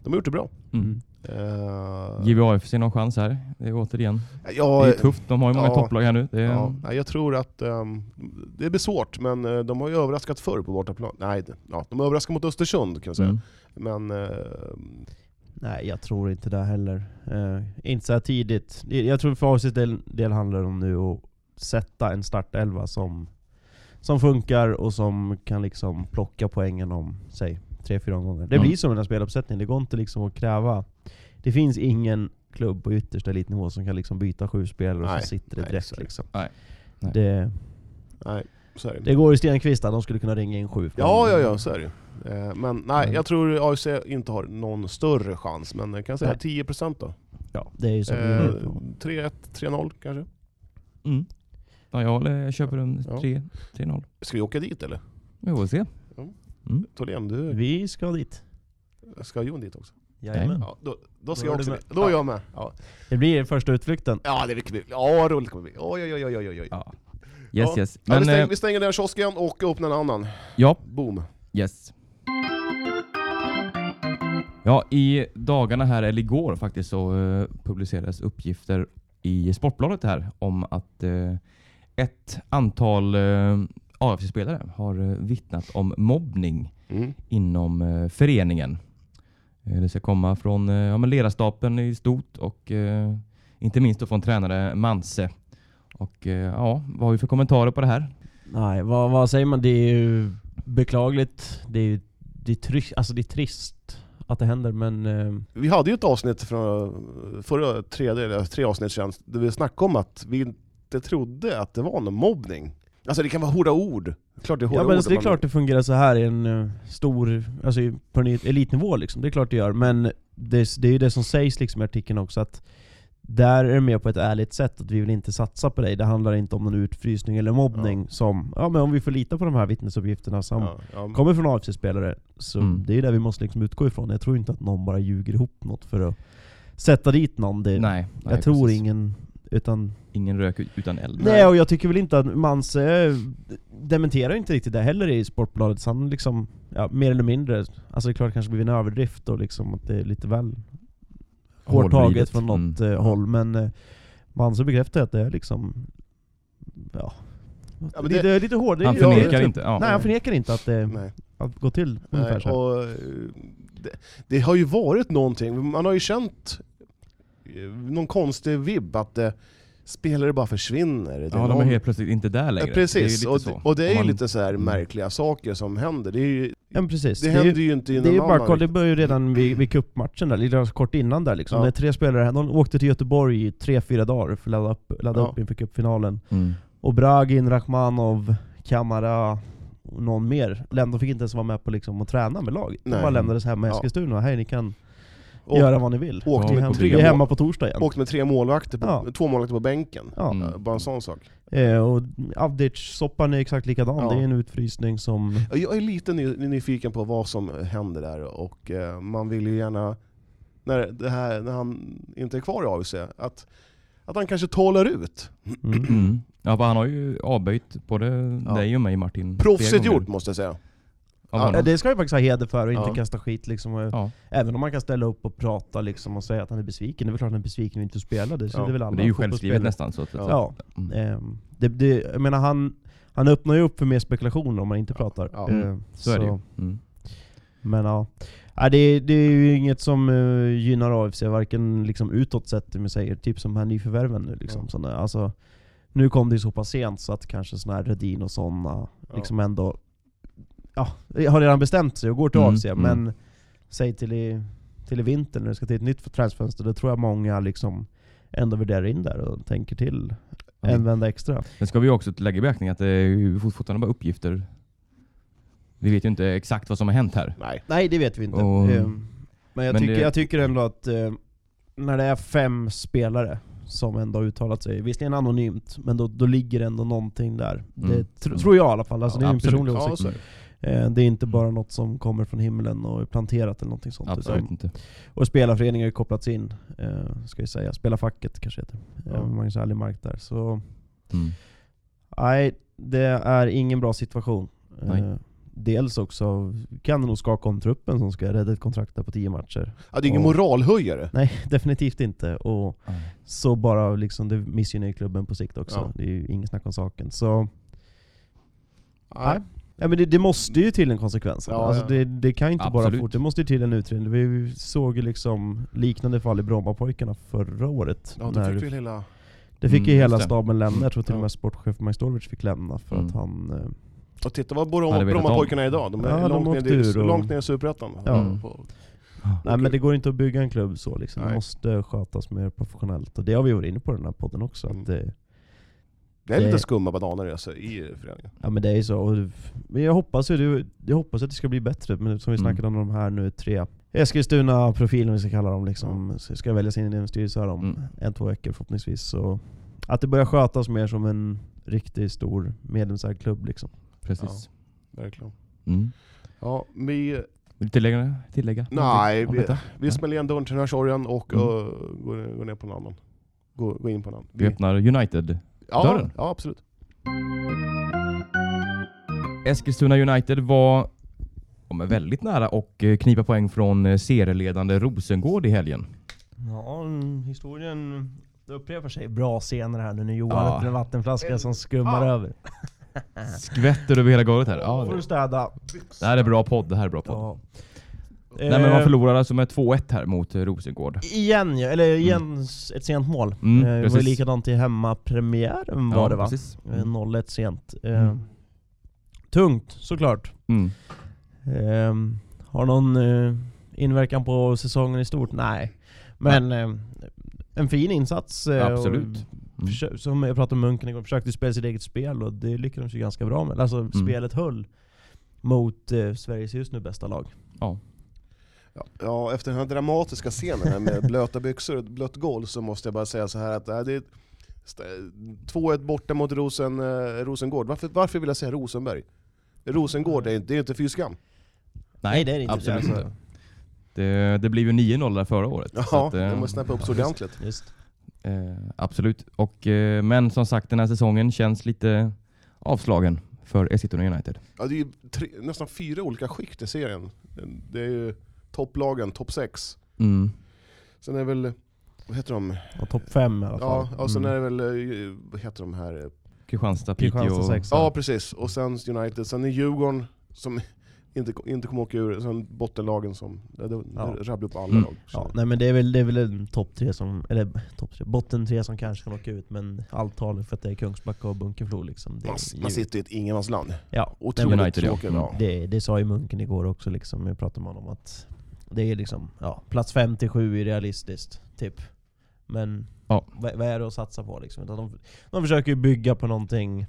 [SPEAKER 4] de har gjort det bra.
[SPEAKER 2] Mm.
[SPEAKER 4] Eh,
[SPEAKER 2] Ger vi AFC någon chans här? Det är återigen.
[SPEAKER 4] ja, eh,
[SPEAKER 2] Det är tufft. De har ju många
[SPEAKER 4] Ja.
[SPEAKER 2] topplag här nu. Det är... Mm.
[SPEAKER 4] Ja, nej, jag tror att ehm, det blir svårt, men eh, de har ju överraskat förr på bortaplan. Nej, det- ja, de överraskade mot Östersund kan jag säga.
[SPEAKER 2] Mm.
[SPEAKER 4] Men eh,
[SPEAKER 3] Nej jag tror inte det heller. Eh, inte så här tidigt. Jag jag tror för AFCs del, del handlar det om nu att sätta en startelva som, som funkar och som kan liksom plocka poängen om, säg, 3-4 omgångar. Det
[SPEAKER 4] Mm.
[SPEAKER 2] Ja.
[SPEAKER 3] blir som en speluppsättning, det går inte liksom att kräva. Det finns ingen klubb på yttersta elitnivå som kan liksom byta sju spelare och
[SPEAKER 4] Nej,
[SPEAKER 3] så sitter det
[SPEAKER 4] nej,
[SPEAKER 3] direkt
[SPEAKER 4] så är det.
[SPEAKER 3] liksom.
[SPEAKER 2] Nej, nej.
[SPEAKER 3] Det,
[SPEAKER 4] nej, så är det.
[SPEAKER 3] Det går i stenkvistar, de skulle kunna ringa in sju.
[SPEAKER 4] Ja, ja, ja, så är det ju. Eh, Men nej,
[SPEAKER 3] Mm.
[SPEAKER 4] jag tror AIC inte har någon större chans, men jag kan säga
[SPEAKER 3] Nej.
[SPEAKER 4] 10% då.
[SPEAKER 3] ja. Det är ju så.
[SPEAKER 4] Eh, 3-1, 3-0 kanske.
[SPEAKER 2] Mm. Ja, jag, håller, jag köper en
[SPEAKER 4] Ja.
[SPEAKER 2] 3 3-0.
[SPEAKER 4] Ska vi åka dit eller?
[SPEAKER 2] Vi får se.
[SPEAKER 4] Tholén, du
[SPEAKER 3] Vi ska dit.
[SPEAKER 4] ska Jon dit också?
[SPEAKER 3] Jajamän.
[SPEAKER 4] Ja, då, då ska
[SPEAKER 3] Då är
[SPEAKER 4] jag
[SPEAKER 3] du
[SPEAKER 4] också
[SPEAKER 3] med.
[SPEAKER 4] med. Då är jag med. Ja,
[SPEAKER 3] Det blir första utflykten.
[SPEAKER 4] ja det blir kul. Ja, roligt kommer det bli. Oj, oj, oj, oj, oj. oj.
[SPEAKER 2] Ja. Yes,
[SPEAKER 4] Ja.
[SPEAKER 2] yes.
[SPEAKER 4] Ja, vi,
[SPEAKER 2] Men,
[SPEAKER 4] stänger,
[SPEAKER 2] eh,
[SPEAKER 4] vi stänger den kiosken och öppnar en annan.
[SPEAKER 2] ja,
[SPEAKER 4] Boom.
[SPEAKER 2] yes. Ja, i dagarna här, eller igår faktiskt, så eh, publicerades uppgifter i Sportbladet här om att eh, ett antal eh, AFC-spelare har eh, vittnat om mobbning
[SPEAKER 4] Mm.
[SPEAKER 2] inom eh, föreningen. Eh, det ska komma från eh, ja, men ledarstaben i stort och eh, inte minst då från tränare Manse. Och eh, ja, vad har vi för kommentarer på det här?
[SPEAKER 3] Nej, vad, vad säger man? Det är ju beklagligt. Det är, ju- det är, trist, alltså det är trist att det händer men... Eh,
[SPEAKER 4] Vi hade ju ett avsnitt från förra tredje, eller tre avsnitt sedan, där vi snackade om att vi inte trodde att det var någon mobbning. Alltså det kan vara hårda ord. Klart det är hårda
[SPEAKER 3] ja men alltså,
[SPEAKER 4] ord.
[SPEAKER 3] det är
[SPEAKER 4] man-
[SPEAKER 3] klart det fungerar så här i en eh, stor, alltså i- på en elitnivå liksom. Det är klart det gör. Men det, det är ju det som sägs liksom i artikeln också att där är det mer på ett ärligt sätt att vi vill inte satsa på dig. Det handlar inte om någon utfrysning eller mobbning som, ja men om vi får lita på de här vittnesuppgifterna som
[SPEAKER 4] Ja, ja.
[SPEAKER 3] kommer från AFC-spelare. Så
[SPEAKER 2] Mm.
[SPEAKER 3] det är där vi måste liksom utgå ifrån. Jag tror inte att någon bara ljuger ihop något för att sätta dit någon. Det,
[SPEAKER 2] nej,
[SPEAKER 3] jag
[SPEAKER 2] nej,
[SPEAKER 3] tror
[SPEAKER 2] precis.
[SPEAKER 3] ingen, utan
[SPEAKER 2] Ingen rök ut- utan eld.
[SPEAKER 3] Nej, och jag tycker väl inte att Manse eh, dementerar inte riktigt det heller i Sportbladet. Så han liksom, ja, mer eller mindre, alltså det är klart det kanske blir en överdrift och liksom att det är lite väl hårt
[SPEAKER 2] Hårdvridet.
[SPEAKER 3] taget från något
[SPEAKER 2] Mm.
[SPEAKER 3] eh, håll. Men eh, Manse bekräftar att det är liksom, ja.
[SPEAKER 4] Ja, men
[SPEAKER 3] det,
[SPEAKER 4] det-
[SPEAKER 3] det är lite hårt. det är-
[SPEAKER 2] Han
[SPEAKER 3] ja,
[SPEAKER 2] förnekar
[SPEAKER 3] jag-
[SPEAKER 2] inte. Ja.
[SPEAKER 3] Nej, han förnekar inte att det
[SPEAKER 4] Nej.
[SPEAKER 3] att går till ungefär
[SPEAKER 4] Nej,
[SPEAKER 3] så. här.
[SPEAKER 4] och, eh, det, det har ju varit någonting, man har ju känt eh, någon konstig vibb att eh, spelare bara försvinner. Det
[SPEAKER 2] ja, de är
[SPEAKER 4] någon-
[SPEAKER 2] helt plötsligt inte där längre.
[SPEAKER 4] Eh,
[SPEAKER 2] Det är
[SPEAKER 4] Precis,
[SPEAKER 2] ju lite
[SPEAKER 4] och,
[SPEAKER 2] så.
[SPEAKER 4] och det är
[SPEAKER 2] Om
[SPEAKER 4] ju
[SPEAKER 2] man-
[SPEAKER 4] lite så här
[SPEAKER 2] Mm.
[SPEAKER 4] märkliga saker som händer. Det, är ju,
[SPEAKER 3] Ja, men precis.
[SPEAKER 4] det,
[SPEAKER 3] är ju-
[SPEAKER 4] händer ju inte i
[SPEAKER 3] Det är
[SPEAKER 4] någon
[SPEAKER 3] ju bara, kolla,
[SPEAKER 4] annan.
[SPEAKER 3] det började ju redan vid, vid cupmatchen där, lite kort innan där liksom.
[SPEAKER 4] Ja.
[SPEAKER 3] När tre spelare, de åkte till Göteborg i tre, fyra dagar för att ladda upp, ladda
[SPEAKER 4] Ja.
[SPEAKER 3] upp inför cupfinalen.
[SPEAKER 2] Mm.
[SPEAKER 3] Och Bragin, Rachmanov, Kamara och någon mer. De fick inte ens vara med på liksom, att träna med laget. De
[SPEAKER 4] Nej.
[SPEAKER 3] bara lämnades hem i
[SPEAKER 4] Ja.
[SPEAKER 3] Eskilstuna. Hej, ni kan
[SPEAKER 4] Och-
[SPEAKER 3] göra vad ni vill.
[SPEAKER 4] åkte
[SPEAKER 3] vi, är
[SPEAKER 2] med
[SPEAKER 3] hem,
[SPEAKER 2] tre
[SPEAKER 3] vi är
[SPEAKER 4] mål.
[SPEAKER 3] hemma på torsdag igen.
[SPEAKER 4] Åkt med tre målvakter på,
[SPEAKER 3] Ja.
[SPEAKER 4] två målvakter på bänken.
[SPEAKER 3] ja.
[SPEAKER 2] Mm.
[SPEAKER 4] Eh, Bara en sån sak.
[SPEAKER 3] Eh, och Avdic-soppan är exakt likadan.
[SPEAKER 4] Ja.
[SPEAKER 3] Det är en utfrysning som...
[SPEAKER 4] Ja, Jag är lite ny, nyfiken på vad som händer där och eh, man vill ju gärna, när, det här, när han inte är kvar i AFC, att, att han kanske talar ut.
[SPEAKER 3] Mm.
[SPEAKER 2] Mm. Ja, för han har ju avböjt både
[SPEAKER 4] Ja.
[SPEAKER 2] dig och mig Martin. flera
[SPEAKER 4] Proffsigt
[SPEAKER 2] gånger
[SPEAKER 4] gjort måste jag säga.
[SPEAKER 2] av
[SPEAKER 4] Ja,
[SPEAKER 2] honom.
[SPEAKER 3] Ja, Eh, det ska vi faktiskt ha heder för och inte
[SPEAKER 4] Ja.
[SPEAKER 3] kasta skit liksom. Och-
[SPEAKER 2] Ja.
[SPEAKER 3] Även om man kan ställa upp och prata liksom och säga att han är besviken. Det är väl klart att han är besviken och inte spelade. Så
[SPEAKER 4] Ja,
[SPEAKER 3] det är väl alla
[SPEAKER 2] Men det är ju
[SPEAKER 3] fotbollsspelare.
[SPEAKER 2] självskrivet nästan. Så att,
[SPEAKER 3] Ja.
[SPEAKER 2] Mm.
[SPEAKER 3] ehm, det, det, jag menar han, han öppnar ju upp för mer spekulation om man inte pratar.
[SPEAKER 4] ja.
[SPEAKER 3] Ehm,
[SPEAKER 2] Mm, Så är det ju. Mm.
[SPEAKER 3] Men ja. ja det, det är ju inget som eh, gynnar AFC, varken liksom utåt sett, om jag säger, typ som här nyförvärven nu. Liksom,
[SPEAKER 4] Ja.
[SPEAKER 3] sådana, alltså, nu kom det ju så pass sent så att kanske sådana här Redin och sådana
[SPEAKER 4] Ja.
[SPEAKER 3] liksom ändå ja, har redan bestämt sig och går till
[SPEAKER 2] Mm,
[SPEAKER 3] AFC.
[SPEAKER 2] mm.
[SPEAKER 3] Men säg till i, till i vinter när det ska till ett nytt transfönster, då tror jag många liksom ändå värderar in där och tänker till
[SPEAKER 2] Ja.
[SPEAKER 3] en vända extra.
[SPEAKER 2] Sen ska vi ju också lägga i beaktning att det är ju fort- fortfarande bara uppgifter. Vi vet ju inte exakt vad som har hänt här.
[SPEAKER 4] Nej.
[SPEAKER 3] Nej det vet vi inte.
[SPEAKER 2] Och-
[SPEAKER 3] Ehm, men jag,
[SPEAKER 2] men
[SPEAKER 3] tycker,
[SPEAKER 2] det-
[SPEAKER 3] jag tycker ändå att eh, när det är fem spelare som ändå har uttalat sig, visserligen anonymt, men då, då ligger det ändå någonting där. Det tr
[SPEAKER 2] Mm.
[SPEAKER 3] tror jag i alla fall,
[SPEAKER 2] Ja,
[SPEAKER 3] alltså, det är ju en
[SPEAKER 2] absolut.
[SPEAKER 3] personlig
[SPEAKER 4] Ja,
[SPEAKER 3] åsikt.
[SPEAKER 4] så är det.
[SPEAKER 3] Eh, det är inte bara något som kommer från himlen och är planterat eller någonting sånt.
[SPEAKER 2] Absolut
[SPEAKER 3] utan-
[SPEAKER 2] inte.
[SPEAKER 3] och spelarföreningar har ju kopplats in, eh, ska jag säga. Spelarfacket kanske heter.
[SPEAKER 4] Ja.
[SPEAKER 3] Eh, Magnus Alimark där. Så
[SPEAKER 2] Mm.
[SPEAKER 3] nej, det är ingen bra situation.
[SPEAKER 2] Nej.
[SPEAKER 3] Eh, dels också kan det nog skaka om truppen som ska rädda ett kontrakt där på tio matcher.
[SPEAKER 4] Ja, det är ingen
[SPEAKER 3] Och-
[SPEAKER 4] moralhöjare.
[SPEAKER 3] Nej, definitivt inte. Och
[SPEAKER 2] Ja.
[SPEAKER 3] så bara liksom, det missgynnar ju klubben på sikt också.
[SPEAKER 4] Ja.
[SPEAKER 3] Det är ju inget snack om saken. Så nej. Ja, men det, det måste ju till en konsekvens.
[SPEAKER 4] Ja,
[SPEAKER 3] alltså,
[SPEAKER 4] ja.
[SPEAKER 3] Det, det kan ju inte bara
[SPEAKER 2] Absolut.
[SPEAKER 3] fort. Det måste ju till en utredning. Vi såg ju liksom liknande fall i Brommapojkarna förra året.
[SPEAKER 4] Ja, då
[SPEAKER 3] när,
[SPEAKER 4] fick vi hela...
[SPEAKER 3] det fick ju
[SPEAKER 2] Mm,
[SPEAKER 3] hela
[SPEAKER 2] just det.
[SPEAKER 3] staben lämna. Jag tror till och
[SPEAKER 4] Ja.
[SPEAKER 3] med sportchef Majstorovic fick lämna för
[SPEAKER 2] Mm.
[SPEAKER 3] att han... eh,
[SPEAKER 4] Och titta vad
[SPEAKER 2] Hade
[SPEAKER 4] Bromma,
[SPEAKER 2] vetat om.
[SPEAKER 4] Brommapojkarna är idag. De är
[SPEAKER 3] Ja, de
[SPEAKER 4] långt,
[SPEAKER 3] åkte
[SPEAKER 4] ner,
[SPEAKER 3] ur
[SPEAKER 4] i-
[SPEAKER 3] och-
[SPEAKER 4] långt ner i Superettan.
[SPEAKER 3] Ja.
[SPEAKER 2] Mm.
[SPEAKER 4] På-
[SPEAKER 3] Nej men det går inte att bygga en klubb så liksom. Det
[SPEAKER 4] Nej.
[SPEAKER 3] måste skötas mer professionellt. Och det har vi varit inne på i den här podden också.
[SPEAKER 4] Mm.
[SPEAKER 3] Att det,
[SPEAKER 4] Det är lite
[SPEAKER 3] Det-
[SPEAKER 4] skumma bananer alltså, i föreningen.
[SPEAKER 3] Ja men det är ju så. Och, men jag hoppas, ju, det- jag hoppas att det ska bli bättre, men som vi
[SPEAKER 2] Mm.
[SPEAKER 3] snackade om de här nu tre Eskilstuna-profilen vi ska kalla dem liksom, så ska väljas in i en styrelse här om
[SPEAKER 2] Mm.
[SPEAKER 3] en, två veckor förhoppningsvis. Så att det börjar skötas mer som en riktigt stor medlemsägd klubb liksom.
[SPEAKER 2] Precis.
[SPEAKER 4] Verkligen.
[SPEAKER 2] Mm.
[SPEAKER 4] Ja, vi
[SPEAKER 2] Vill du tillägga? tillägga
[SPEAKER 4] Nej,
[SPEAKER 2] någonting om
[SPEAKER 4] vi-
[SPEAKER 2] detta?
[SPEAKER 4] Vi smäller igen dörren till den här sorgen och
[SPEAKER 2] Mm.
[SPEAKER 4] eh, går, går ner på en annan. Går, går in på en annan.
[SPEAKER 2] vi öppnar United.
[SPEAKER 4] ja,
[SPEAKER 2] dörren.
[SPEAKER 4] ja, absolut.
[SPEAKER 2] Eskilstuna United var ja, men väldigt nära och eh, knipa poäng från eh, serieledande Rosengård i helgen.
[SPEAKER 3] Ja, mm, historien upprepar sig bra senare här nu när Johan
[SPEAKER 2] Ja.
[SPEAKER 3] öppnar en vattenflaska som skummar över.
[SPEAKER 2] Skvätter över hela golvet här.
[SPEAKER 3] Då
[SPEAKER 2] Ja,
[SPEAKER 3] får du
[SPEAKER 2] det-
[SPEAKER 3] städa.
[SPEAKER 2] det här är bra podd. Det här är bra podd.
[SPEAKER 3] Ja.
[SPEAKER 2] Nej, men man
[SPEAKER 3] Eh,
[SPEAKER 2] förlorade alltså med 2-1 här mot eh, Rosengård.
[SPEAKER 3] Igen ja, eller igen s- ett sent mål.
[SPEAKER 2] Mm,
[SPEAKER 3] eh, det var ju
[SPEAKER 2] precis.
[SPEAKER 3] likadant i hemmapremiären var
[SPEAKER 2] Ja,
[SPEAKER 3] det va?
[SPEAKER 2] Precis.
[SPEAKER 3] Eh, 0-1 sent. Eh,
[SPEAKER 2] Mm.
[SPEAKER 3] Tungt såklart.
[SPEAKER 2] Mm.
[SPEAKER 3] Eh, har någon eh, inverkan på säsongen i stort? Nej. Men eh, en fin insats. eh, och
[SPEAKER 2] Absolut. Mm.
[SPEAKER 3] försö- Som jag pratade om Munken igår, försökte spela sitt eget spel och det lyckades ju ganska bra med. Alltså
[SPEAKER 2] Mm.
[SPEAKER 3] spelet höll mot eh, Sveriges just nu bästa lag.
[SPEAKER 2] Ja.
[SPEAKER 4] Ja, Ja, efter den här dramatiska scenen här med blöta byxor och ett blött golv så måste jag bara säga så här att äh, det är st- 2-1 borta mot Rosen, eh, Rosengård. Varför, varför vill jag säga Rosenberg? Rosengård, det är, det är inte fy skam.
[SPEAKER 3] Nej, det är det inte.
[SPEAKER 2] Absolut
[SPEAKER 3] Alltså,
[SPEAKER 2] inte. Det, det blev ju 9-0 där förra året. så
[SPEAKER 4] Ja,
[SPEAKER 2] att, eh,
[SPEAKER 4] det måste snappa upp så ordentligt.
[SPEAKER 3] Just.
[SPEAKER 2] Eh, absolut. Och, eh, men som sagt, den här säsongen känns lite avslagen för Eskilstuna United.
[SPEAKER 4] Ja, det är ju tre, nästan fyra olika skikt i serien. Det är ju topplagen, topp 6.
[SPEAKER 2] Mm.
[SPEAKER 4] Sen är det väl, vad heter de?
[SPEAKER 3] Ja, Topp fem i alla fall. Mm.
[SPEAKER 4] Ja,
[SPEAKER 2] Mm.
[SPEAKER 4] och sen är det väl, eh, vad heter de här?
[SPEAKER 2] Kristianstad,
[SPEAKER 3] Kristianstad
[SPEAKER 2] Piteå.
[SPEAKER 3] sexa.
[SPEAKER 4] Ja precis, och sen United, sen är Djurgården som inte, inte kommer åka ur, sen bottenlagen som det, det,
[SPEAKER 3] Ja.
[SPEAKER 4] det rabblar upp alla
[SPEAKER 2] Mm.
[SPEAKER 4] lag.
[SPEAKER 3] Ja, nej men det är väl, det är väl en topp tre som, eller topp tre, botten tre som kanske kan åka ut men allt talar för att det är Kungsbacka och Bunkeflo liksom. Det, är
[SPEAKER 4] Man,
[SPEAKER 3] ju-
[SPEAKER 4] man sitter i ett ingenmansland.
[SPEAKER 3] ja,
[SPEAKER 4] Otroligt
[SPEAKER 2] United, ja.
[SPEAKER 4] tråkigt.
[SPEAKER 2] Mm.
[SPEAKER 4] Ja.
[SPEAKER 3] det, det sa ju Munken igår också liksom, jag pratade med honom att det är liksom, ja, plats 5-7 är realistiskt, typ. Men
[SPEAKER 2] Ja.
[SPEAKER 3] vad, vad är det att satsa på liksom? Utan de, de försöker ju bygga på någonting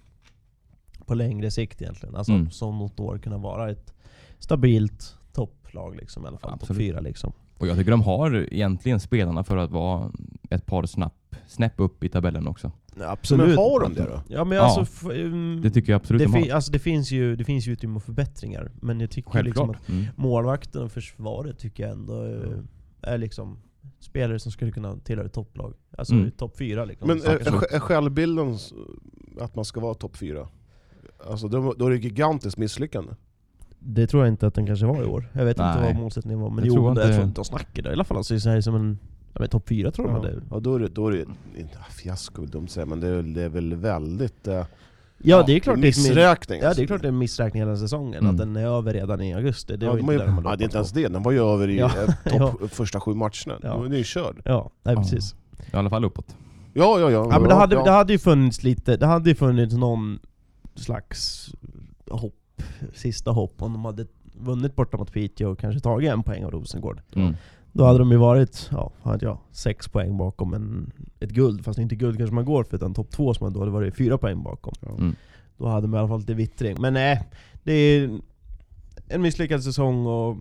[SPEAKER 3] på längre sikt egentligen. Alltså
[SPEAKER 2] Mm.
[SPEAKER 3] som något år kunna vara ett stabilt topplag liksom, i alla fall topp
[SPEAKER 2] Absolut.
[SPEAKER 3] fyra liksom.
[SPEAKER 2] Och jag tycker de har egentligen spelarna för att vara ett par snapp, snäpp upp i tabellen också.
[SPEAKER 3] Absolut.
[SPEAKER 4] Men har de det då?
[SPEAKER 3] Ja men
[SPEAKER 2] Ja.
[SPEAKER 3] alltså, f- ehm,
[SPEAKER 2] Det tycker jag absolut
[SPEAKER 3] det,
[SPEAKER 2] de har.
[SPEAKER 3] fin- alltså det, finns ju, det finns ju utrymme för förbättringar, men jag tycker liksom
[SPEAKER 2] Självklart.
[SPEAKER 3] att
[SPEAKER 2] Mm.
[SPEAKER 3] målvakten och försvaret tycker jag ändå eh, är liksom spelare som skulle kunna tillhöra ett topplag. Alltså
[SPEAKER 2] Mm.
[SPEAKER 3] topp fyra liksom.
[SPEAKER 4] Men eh, är,
[SPEAKER 3] Saker som-
[SPEAKER 4] är, är självbilden s- att man ska vara topp fyra? Alltså då, då är det gigantiskt misslyckande.
[SPEAKER 3] det tror jag inte att den kanske var i år. Jag vet inte
[SPEAKER 2] Nej.
[SPEAKER 3] vad målsättningen var, men
[SPEAKER 2] Jag
[SPEAKER 3] jo,
[SPEAKER 2] tror
[SPEAKER 3] men
[SPEAKER 2] inte-
[SPEAKER 3] jag tror inte de snackade i alla fall. alltså, Så det är så här som en ja, men topp fyra tror de
[SPEAKER 4] Ja.
[SPEAKER 3] ja. det.
[SPEAKER 4] Ja, då är det, då är det inte, ah, fiasko är dumt att säga, men det är, det är väl väldigt... Eh,
[SPEAKER 3] Ja det är klart det är ett min-
[SPEAKER 4] missräkning.
[SPEAKER 3] Ja
[SPEAKER 4] alltså.
[SPEAKER 3] det är klart det är en missräkning hela säsongen,
[SPEAKER 2] Mm.
[SPEAKER 3] att den är över redan i augusti. Det
[SPEAKER 4] Ja,
[SPEAKER 3] var
[SPEAKER 4] de
[SPEAKER 3] ju
[SPEAKER 4] har
[SPEAKER 3] inte
[SPEAKER 4] ju-
[SPEAKER 3] det de hade
[SPEAKER 4] ja, det är inte ens
[SPEAKER 3] hoppats på.
[SPEAKER 4] det, den var ju över i
[SPEAKER 3] Ja.
[SPEAKER 4] eh, topp första sju matcherna.
[SPEAKER 3] Ja.
[SPEAKER 4] Då är det ju körd.
[SPEAKER 3] Ja, nej,
[SPEAKER 2] Ja.
[SPEAKER 3] precis.
[SPEAKER 2] I alla fall uppåt.
[SPEAKER 4] Ja, ja, ja.
[SPEAKER 3] Ja men det
[SPEAKER 4] ja,
[SPEAKER 3] hade,
[SPEAKER 4] ja.
[SPEAKER 3] det hade ju funnits lite, det hade ju funnits någon slags hopp, sista hopp om de hade vunnit borta mot Piteå och kanske tagit en poäng av Rosengård.
[SPEAKER 2] Mm.
[SPEAKER 3] Då hade de ju varit, ja, hade jag, sex poäng bakom en, ett guld, fast inte guld kanske man går för utan topp två som man då hade varit fyra poäng bakom.
[SPEAKER 2] Mm.
[SPEAKER 3] Då hade man i alla fall lite vittring. Men nej, det är en misslyckad säsong och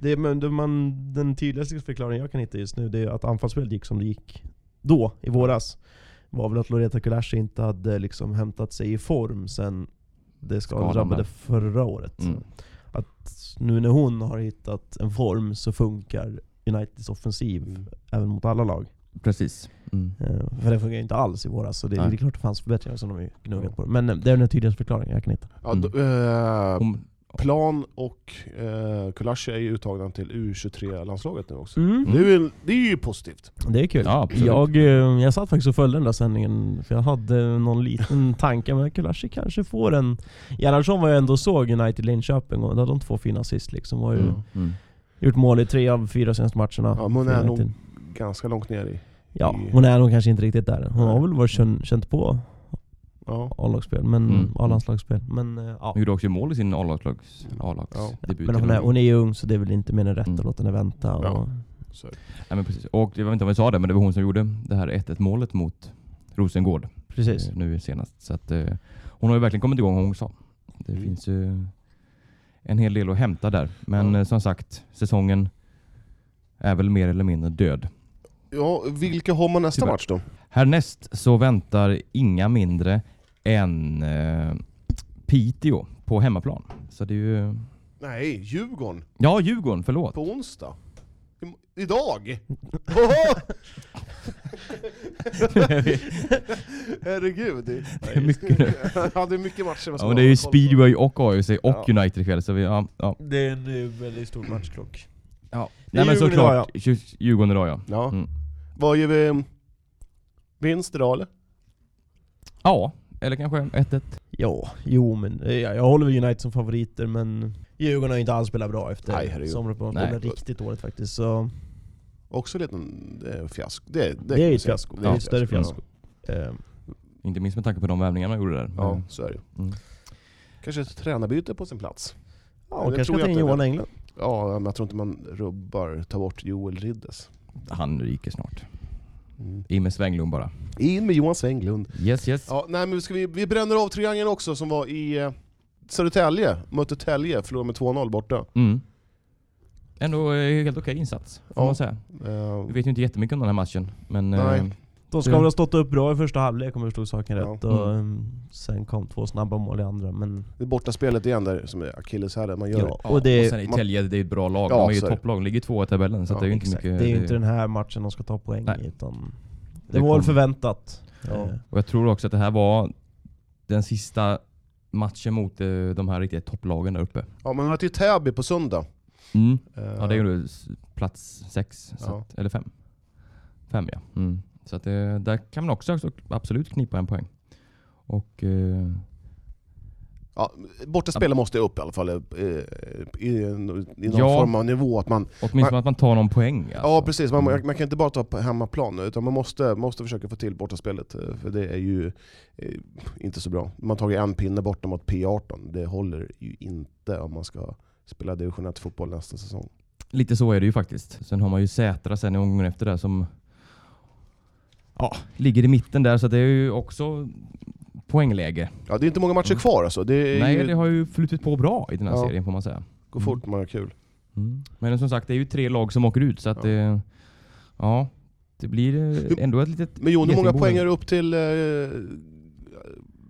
[SPEAKER 3] det, men det, man, den tydligaste förklaringen jag kan hitta just nu det är att anfallsspelet gick som det gick då, i våras. var väl att Loreta Kulaschi inte hade liksom hämtat sig i form sen
[SPEAKER 2] Skadan
[SPEAKER 3] det skadan drabbade
[SPEAKER 2] där.
[SPEAKER 3] förra året.
[SPEAKER 2] Mm.
[SPEAKER 3] Att nu när hon har hittat en form så funkar Uniteds offensiv
[SPEAKER 2] Mm.
[SPEAKER 3] även mot alla lag.
[SPEAKER 2] Precis. Mm.
[SPEAKER 3] Eh, För det fungerar ju inte alls i våras, så det, det
[SPEAKER 2] Nej.
[SPEAKER 3] är klart det fanns förbättringar som de har ju gnuggat på. Men eh, det är den tydligaste förklaringen jag kan hitta.
[SPEAKER 4] Ja, då, eh,
[SPEAKER 2] Hon,
[SPEAKER 4] Plan och eh, Kulaschi är ju uttagna till U23-landslaget nu också.
[SPEAKER 2] Mm.
[SPEAKER 4] Det, är ju, det är ju positivt.
[SPEAKER 3] Det är kul.
[SPEAKER 2] Ja, absolut.
[SPEAKER 3] jag, eh, jag satt faktiskt och följde den där sändningen, för jag hade någon liten tanke, men Kulaschi kanske får en... Gerhardsson var jag ändå såg United Linköping, och då hade de två fina assist liksom. Var ju,
[SPEAKER 4] Mm.
[SPEAKER 2] mm.
[SPEAKER 3] Gjort mål i tre av fyra senaste matcherna.
[SPEAKER 4] Ja, men hon
[SPEAKER 3] för
[SPEAKER 4] är
[SPEAKER 3] United.
[SPEAKER 4] nog ganska långt ner i...
[SPEAKER 3] Ja,
[SPEAKER 4] i-
[SPEAKER 3] hon är nog kanske inte riktigt där. Hon har väl varit känt, känt på
[SPEAKER 4] Ja.
[SPEAKER 3] A-lagsspel, men
[SPEAKER 2] Mm.
[SPEAKER 3] A-landslagsspel. Men eh, ja.
[SPEAKER 2] Hon gjorde också mål i sin A-lags-
[SPEAKER 4] Ja.
[SPEAKER 2] A-lagsdebut.
[SPEAKER 3] Men hon är, hon är ju ung så det är väl inte mer än rätt
[SPEAKER 2] Mm.
[SPEAKER 3] att låta henne vänta.
[SPEAKER 4] Ja.
[SPEAKER 3] Och,
[SPEAKER 4] Så.
[SPEAKER 2] Nej, men precis. Och jag vet inte om vi sa det, men det var hon som gjorde det här 1-1 målet mot Rosengård
[SPEAKER 3] Precis.
[SPEAKER 2] eh, nu senast. Så att, eh, hon har ju verkligen kommit igång hon sa. Det
[SPEAKER 4] Mm.
[SPEAKER 2] finns ju en hel del att hämta där. Men
[SPEAKER 4] Ja.
[SPEAKER 2] eh, som sagt, säsongen är väl mer eller mindre död.
[SPEAKER 4] Ja, vilka har man nästa
[SPEAKER 2] Tyvärr.
[SPEAKER 4] match då?
[SPEAKER 2] Härnäst så väntar inga mindre än eh, Piteå på hemmaplan. Så det är ju
[SPEAKER 4] Nej, Djurgården.
[SPEAKER 2] Ja, Djurgården, förlåt.
[SPEAKER 4] På onsdag. Im- Idag! Åhå! Herregud. Det
[SPEAKER 2] är mycket nu.
[SPEAKER 4] ja, det är mycket matcher man
[SPEAKER 2] Ja,
[SPEAKER 4] ska
[SPEAKER 2] men det är ju
[SPEAKER 4] hålla koll på.
[SPEAKER 2] speedway och AIC och
[SPEAKER 4] Ja.
[SPEAKER 2] United ikväll, så vi, ja, ja.
[SPEAKER 5] Det är en eh, väldigt stor matchklock.
[SPEAKER 2] ja.
[SPEAKER 3] Det är
[SPEAKER 2] Nej men
[SPEAKER 3] Djurgården
[SPEAKER 2] såklart, Djur- Djurgården idag ja.
[SPEAKER 4] Ja.
[SPEAKER 2] Mm.
[SPEAKER 4] Vad gör vi? Vinst idag eller?
[SPEAKER 2] Ja, eller kanske 1-1.
[SPEAKER 3] Ja, jo men eh, jag, jag håller med United som favoriter men Djurgården har ju inte alls spelat bra efter
[SPEAKER 4] Nej, herregud.
[SPEAKER 3] sommaruppehållet.
[SPEAKER 2] Nej.
[SPEAKER 3] Det blev riktigt dåligt faktiskt. Så,
[SPEAKER 4] Också lite en det är fiasko. Det, det,
[SPEAKER 3] Det
[SPEAKER 4] kan
[SPEAKER 3] är
[SPEAKER 4] man
[SPEAKER 3] ett
[SPEAKER 4] säga.
[SPEAKER 3] fiasko. Det är ett större fiasko. eh,
[SPEAKER 2] Inte minst med tanke på de värvningar man gjorde där.
[SPEAKER 4] Ja,
[SPEAKER 2] Men-
[SPEAKER 4] så är det ju.
[SPEAKER 2] Mm.
[SPEAKER 4] Kanske ett tränarbyte på sin plats.
[SPEAKER 3] ja,
[SPEAKER 4] det
[SPEAKER 3] och kanske
[SPEAKER 4] tror
[SPEAKER 3] ska
[SPEAKER 4] jag
[SPEAKER 3] ta in
[SPEAKER 4] inte.
[SPEAKER 3] Johan Englund.
[SPEAKER 4] Ja, men jag tror inte man rubbar, tar bort Joel Riddes.
[SPEAKER 2] Han ryker snart.
[SPEAKER 4] Mm.
[SPEAKER 2] In med Svenglund bara.
[SPEAKER 4] In med Johan Svenglund.
[SPEAKER 2] Yes yes.
[SPEAKER 4] Ja, nej, men ska vi, vi bränner av triangeln också som var i eh, Södertälje. Mötte Tälje, förlorade med 2-0 borta.
[SPEAKER 2] Mm. Ändå eh, helt okej insats, får
[SPEAKER 4] Ja.
[SPEAKER 2] man säga.
[SPEAKER 4] Eh,
[SPEAKER 2] Vi vet ju inte jättemycket om den här matchen, men...
[SPEAKER 4] Nej.
[SPEAKER 2] eh,
[SPEAKER 3] De ska
[SPEAKER 2] Ja.
[SPEAKER 3] väl ha stått upp bra i första halvlek om jag förstod saken
[SPEAKER 4] Ja.
[SPEAKER 3] rätt. Och, eh, sen kom två snabba mål i andra men...
[SPEAKER 4] det är bortaspelet igen där som är akilleshälen. Man gör
[SPEAKER 3] Ja,
[SPEAKER 2] Ja,
[SPEAKER 3] och det,
[SPEAKER 2] sen är
[SPEAKER 4] man-
[SPEAKER 2] Telge, det är ett bra lag.
[SPEAKER 4] Ja,
[SPEAKER 2] de är ju
[SPEAKER 4] så är det.
[SPEAKER 2] topplag, de ligger tvåa i tabellen så
[SPEAKER 4] Ja,
[SPEAKER 2] att det är ju inte
[SPEAKER 3] exakt,
[SPEAKER 2] mycket...
[SPEAKER 3] det är ju inte den här matchen de ska ta poäng
[SPEAKER 2] Nej.
[SPEAKER 3] i utan... Det,
[SPEAKER 2] det
[SPEAKER 3] var
[SPEAKER 2] kom-
[SPEAKER 3] väl förväntat.
[SPEAKER 4] Ja.
[SPEAKER 3] Eh,
[SPEAKER 2] Och jag tror också att det här var den sista matchen mot eh, de här riktiga topplagen där uppe.
[SPEAKER 4] Ja, men man möter ju Täby på söndag.
[SPEAKER 2] Mm.
[SPEAKER 4] Eh,
[SPEAKER 2] Ja, det är ju s- plats sex, så
[SPEAKER 4] Ja.
[SPEAKER 2] att, eller fem. Fem ja. Mm. Så att, eh, där kan man också också absolut knipa en poäng. Och... Eh,
[SPEAKER 4] Ja, bortaspelet måste upp i alla fall, eh, i, en- i någon
[SPEAKER 2] Ja.
[SPEAKER 4] form av nivå. Att man,
[SPEAKER 2] åtminstone att man tar någon poäng.
[SPEAKER 4] Ja
[SPEAKER 2] alltså.
[SPEAKER 4] precis, man,
[SPEAKER 2] Mm.
[SPEAKER 4] man kan inte bara ta på hemmaplan utan man måste, måste försöka få till bortaspelet. eh, För det är ju eh, inte så bra. Man har tagit en pinne borta mot P18. Det håller ju inte om man ska spela division 1 fotboll nästa säsong.
[SPEAKER 2] Lite så är det ju faktiskt. Sen har man ju Sätra sen i omgången efter där som ja, ligger i mitten där så det är ju också poängläge.
[SPEAKER 4] Ja, det är inte många matcher
[SPEAKER 2] Mm.
[SPEAKER 4] kvar alltså. Det, är
[SPEAKER 2] Nej,
[SPEAKER 4] ju,
[SPEAKER 2] det har ju flutit på bra i den här
[SPEAKER 4] Ja.
[SPEAKER 2] serien får man säga.
[SPEAKER 4] går fort man har kul.
[SPEAKER 2] Mm. Men som sagt, det är ju tre lag som åker ut så att
[SPEAKER 4] Ja.
[SPEAKER 2] det... Ja, det blir eh, ändå ett litet...
[SPEAKER 4] Men Jon, hur många
[SPEAKER 2] Getingbo.
[SPEAKER 4] poäng är det upp till, eh,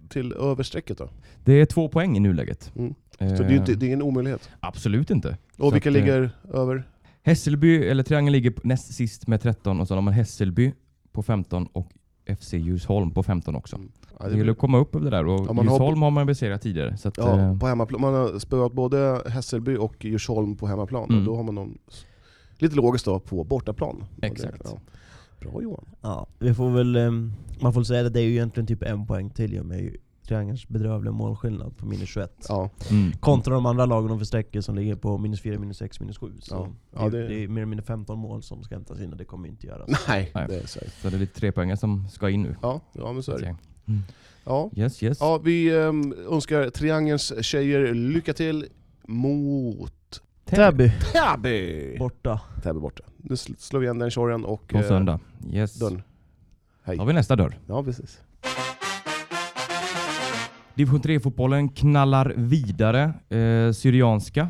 [SPEAKER 4] till överstrecket då?
[SPEAKER 2] Det är två poäng i nuläget.
[SPEAKER 4] Mm.
[SPEAKER 2] Eh,
[SPEAKER 4] Så det är ju inte, det är ingen omöjlighet.
[SPEAKER 2] Absolut inte. Så
[SPEAKER 4] Och vilka
[SPEAKER 2] att, eh,
[SPEAKER 4] ligger över?
[SPEAKER 2] Hässelby, eller Triangeln ligger på- näst sist med 13 och sen har man Hässelby på 15 och FC Djursholm på 15 också.
[SPEAKER 4] Ja,
[SPEAKER 2] Det gäller att komma upp över det där och
[SPEAKER 4] Ja, man har-
[SPEAKER 2] Djursholm har man besegrat tidigare. Så att,
[SPEAKER 4] Ja,
[SPEAKER 2] eh,
[SPEAKER 4] på hemmaplan. Man har spöat både Hässelby och Djursholm på hemmaplan.
[SPEAKER 2] Mm.
[SPEAKER 4] Och då har man dem s- lite logiskt då, på bortaplan. Och det-
[SPEAKER 2] Exakt.
[SPEAKER 4] ja. Bra Johan.
[SPEAKER 3] Ja, vi får väl, ehm, man får väl säga det, det är ju egentligen typ en poäng till i och med triangelns bedrövliga målskillnad på minus 21.
[SPEAKER 4] Ja.
[SPEAKER 2] mm.
[SPEAKER 3] Kontra de andra lagen de sträckor som ligger på minus 4, minus 6, minus 7. Så
[SPEAKER 4] Ja.
[SPEAKER 3] det,
[SPEAKER 4] Ja, det-
[SPEAKER 3] är, det är mer eller mindre 15 mål som ska hämtas in och det kommer ju inte göras.
[SPEAKER 4] Nej,
[SPEAKER 2] Nej.
[SPEAKER 4] det är säkert.
[SPEAKER 2] Så det är lite trepoängare som ska in nu.
[SPEAKER 4] Ja, ja men så är det.
[SPEAKER 2] Mm.
[SPEAKER 4] Ja.
[SPEAKER 2] Yes yes.
[SPEAKER 4] Ja, vi ehm, önskar Triangelns tjejer lycka till mot
[SPEAKER 3] Täby
[SPEAKER 4] Täby!
[SPEAKER 3] borta.
[SPEAKER 4] Täby borta. Nu sl- slår vi igen den tjorren och
[SPEAKER 2] På
[SPEAKER 4] eh,
[SPEAKER 2] söndag. Yes. Då
[SPEAKER 4] dörren. Hej.
[SPEAKER 2] har vi nästa dörr.
[SPEAKER 4] Ja, precis.
[SPEAKER 2] Division 3-fotbollen knallar vidare. Eh, Syrianska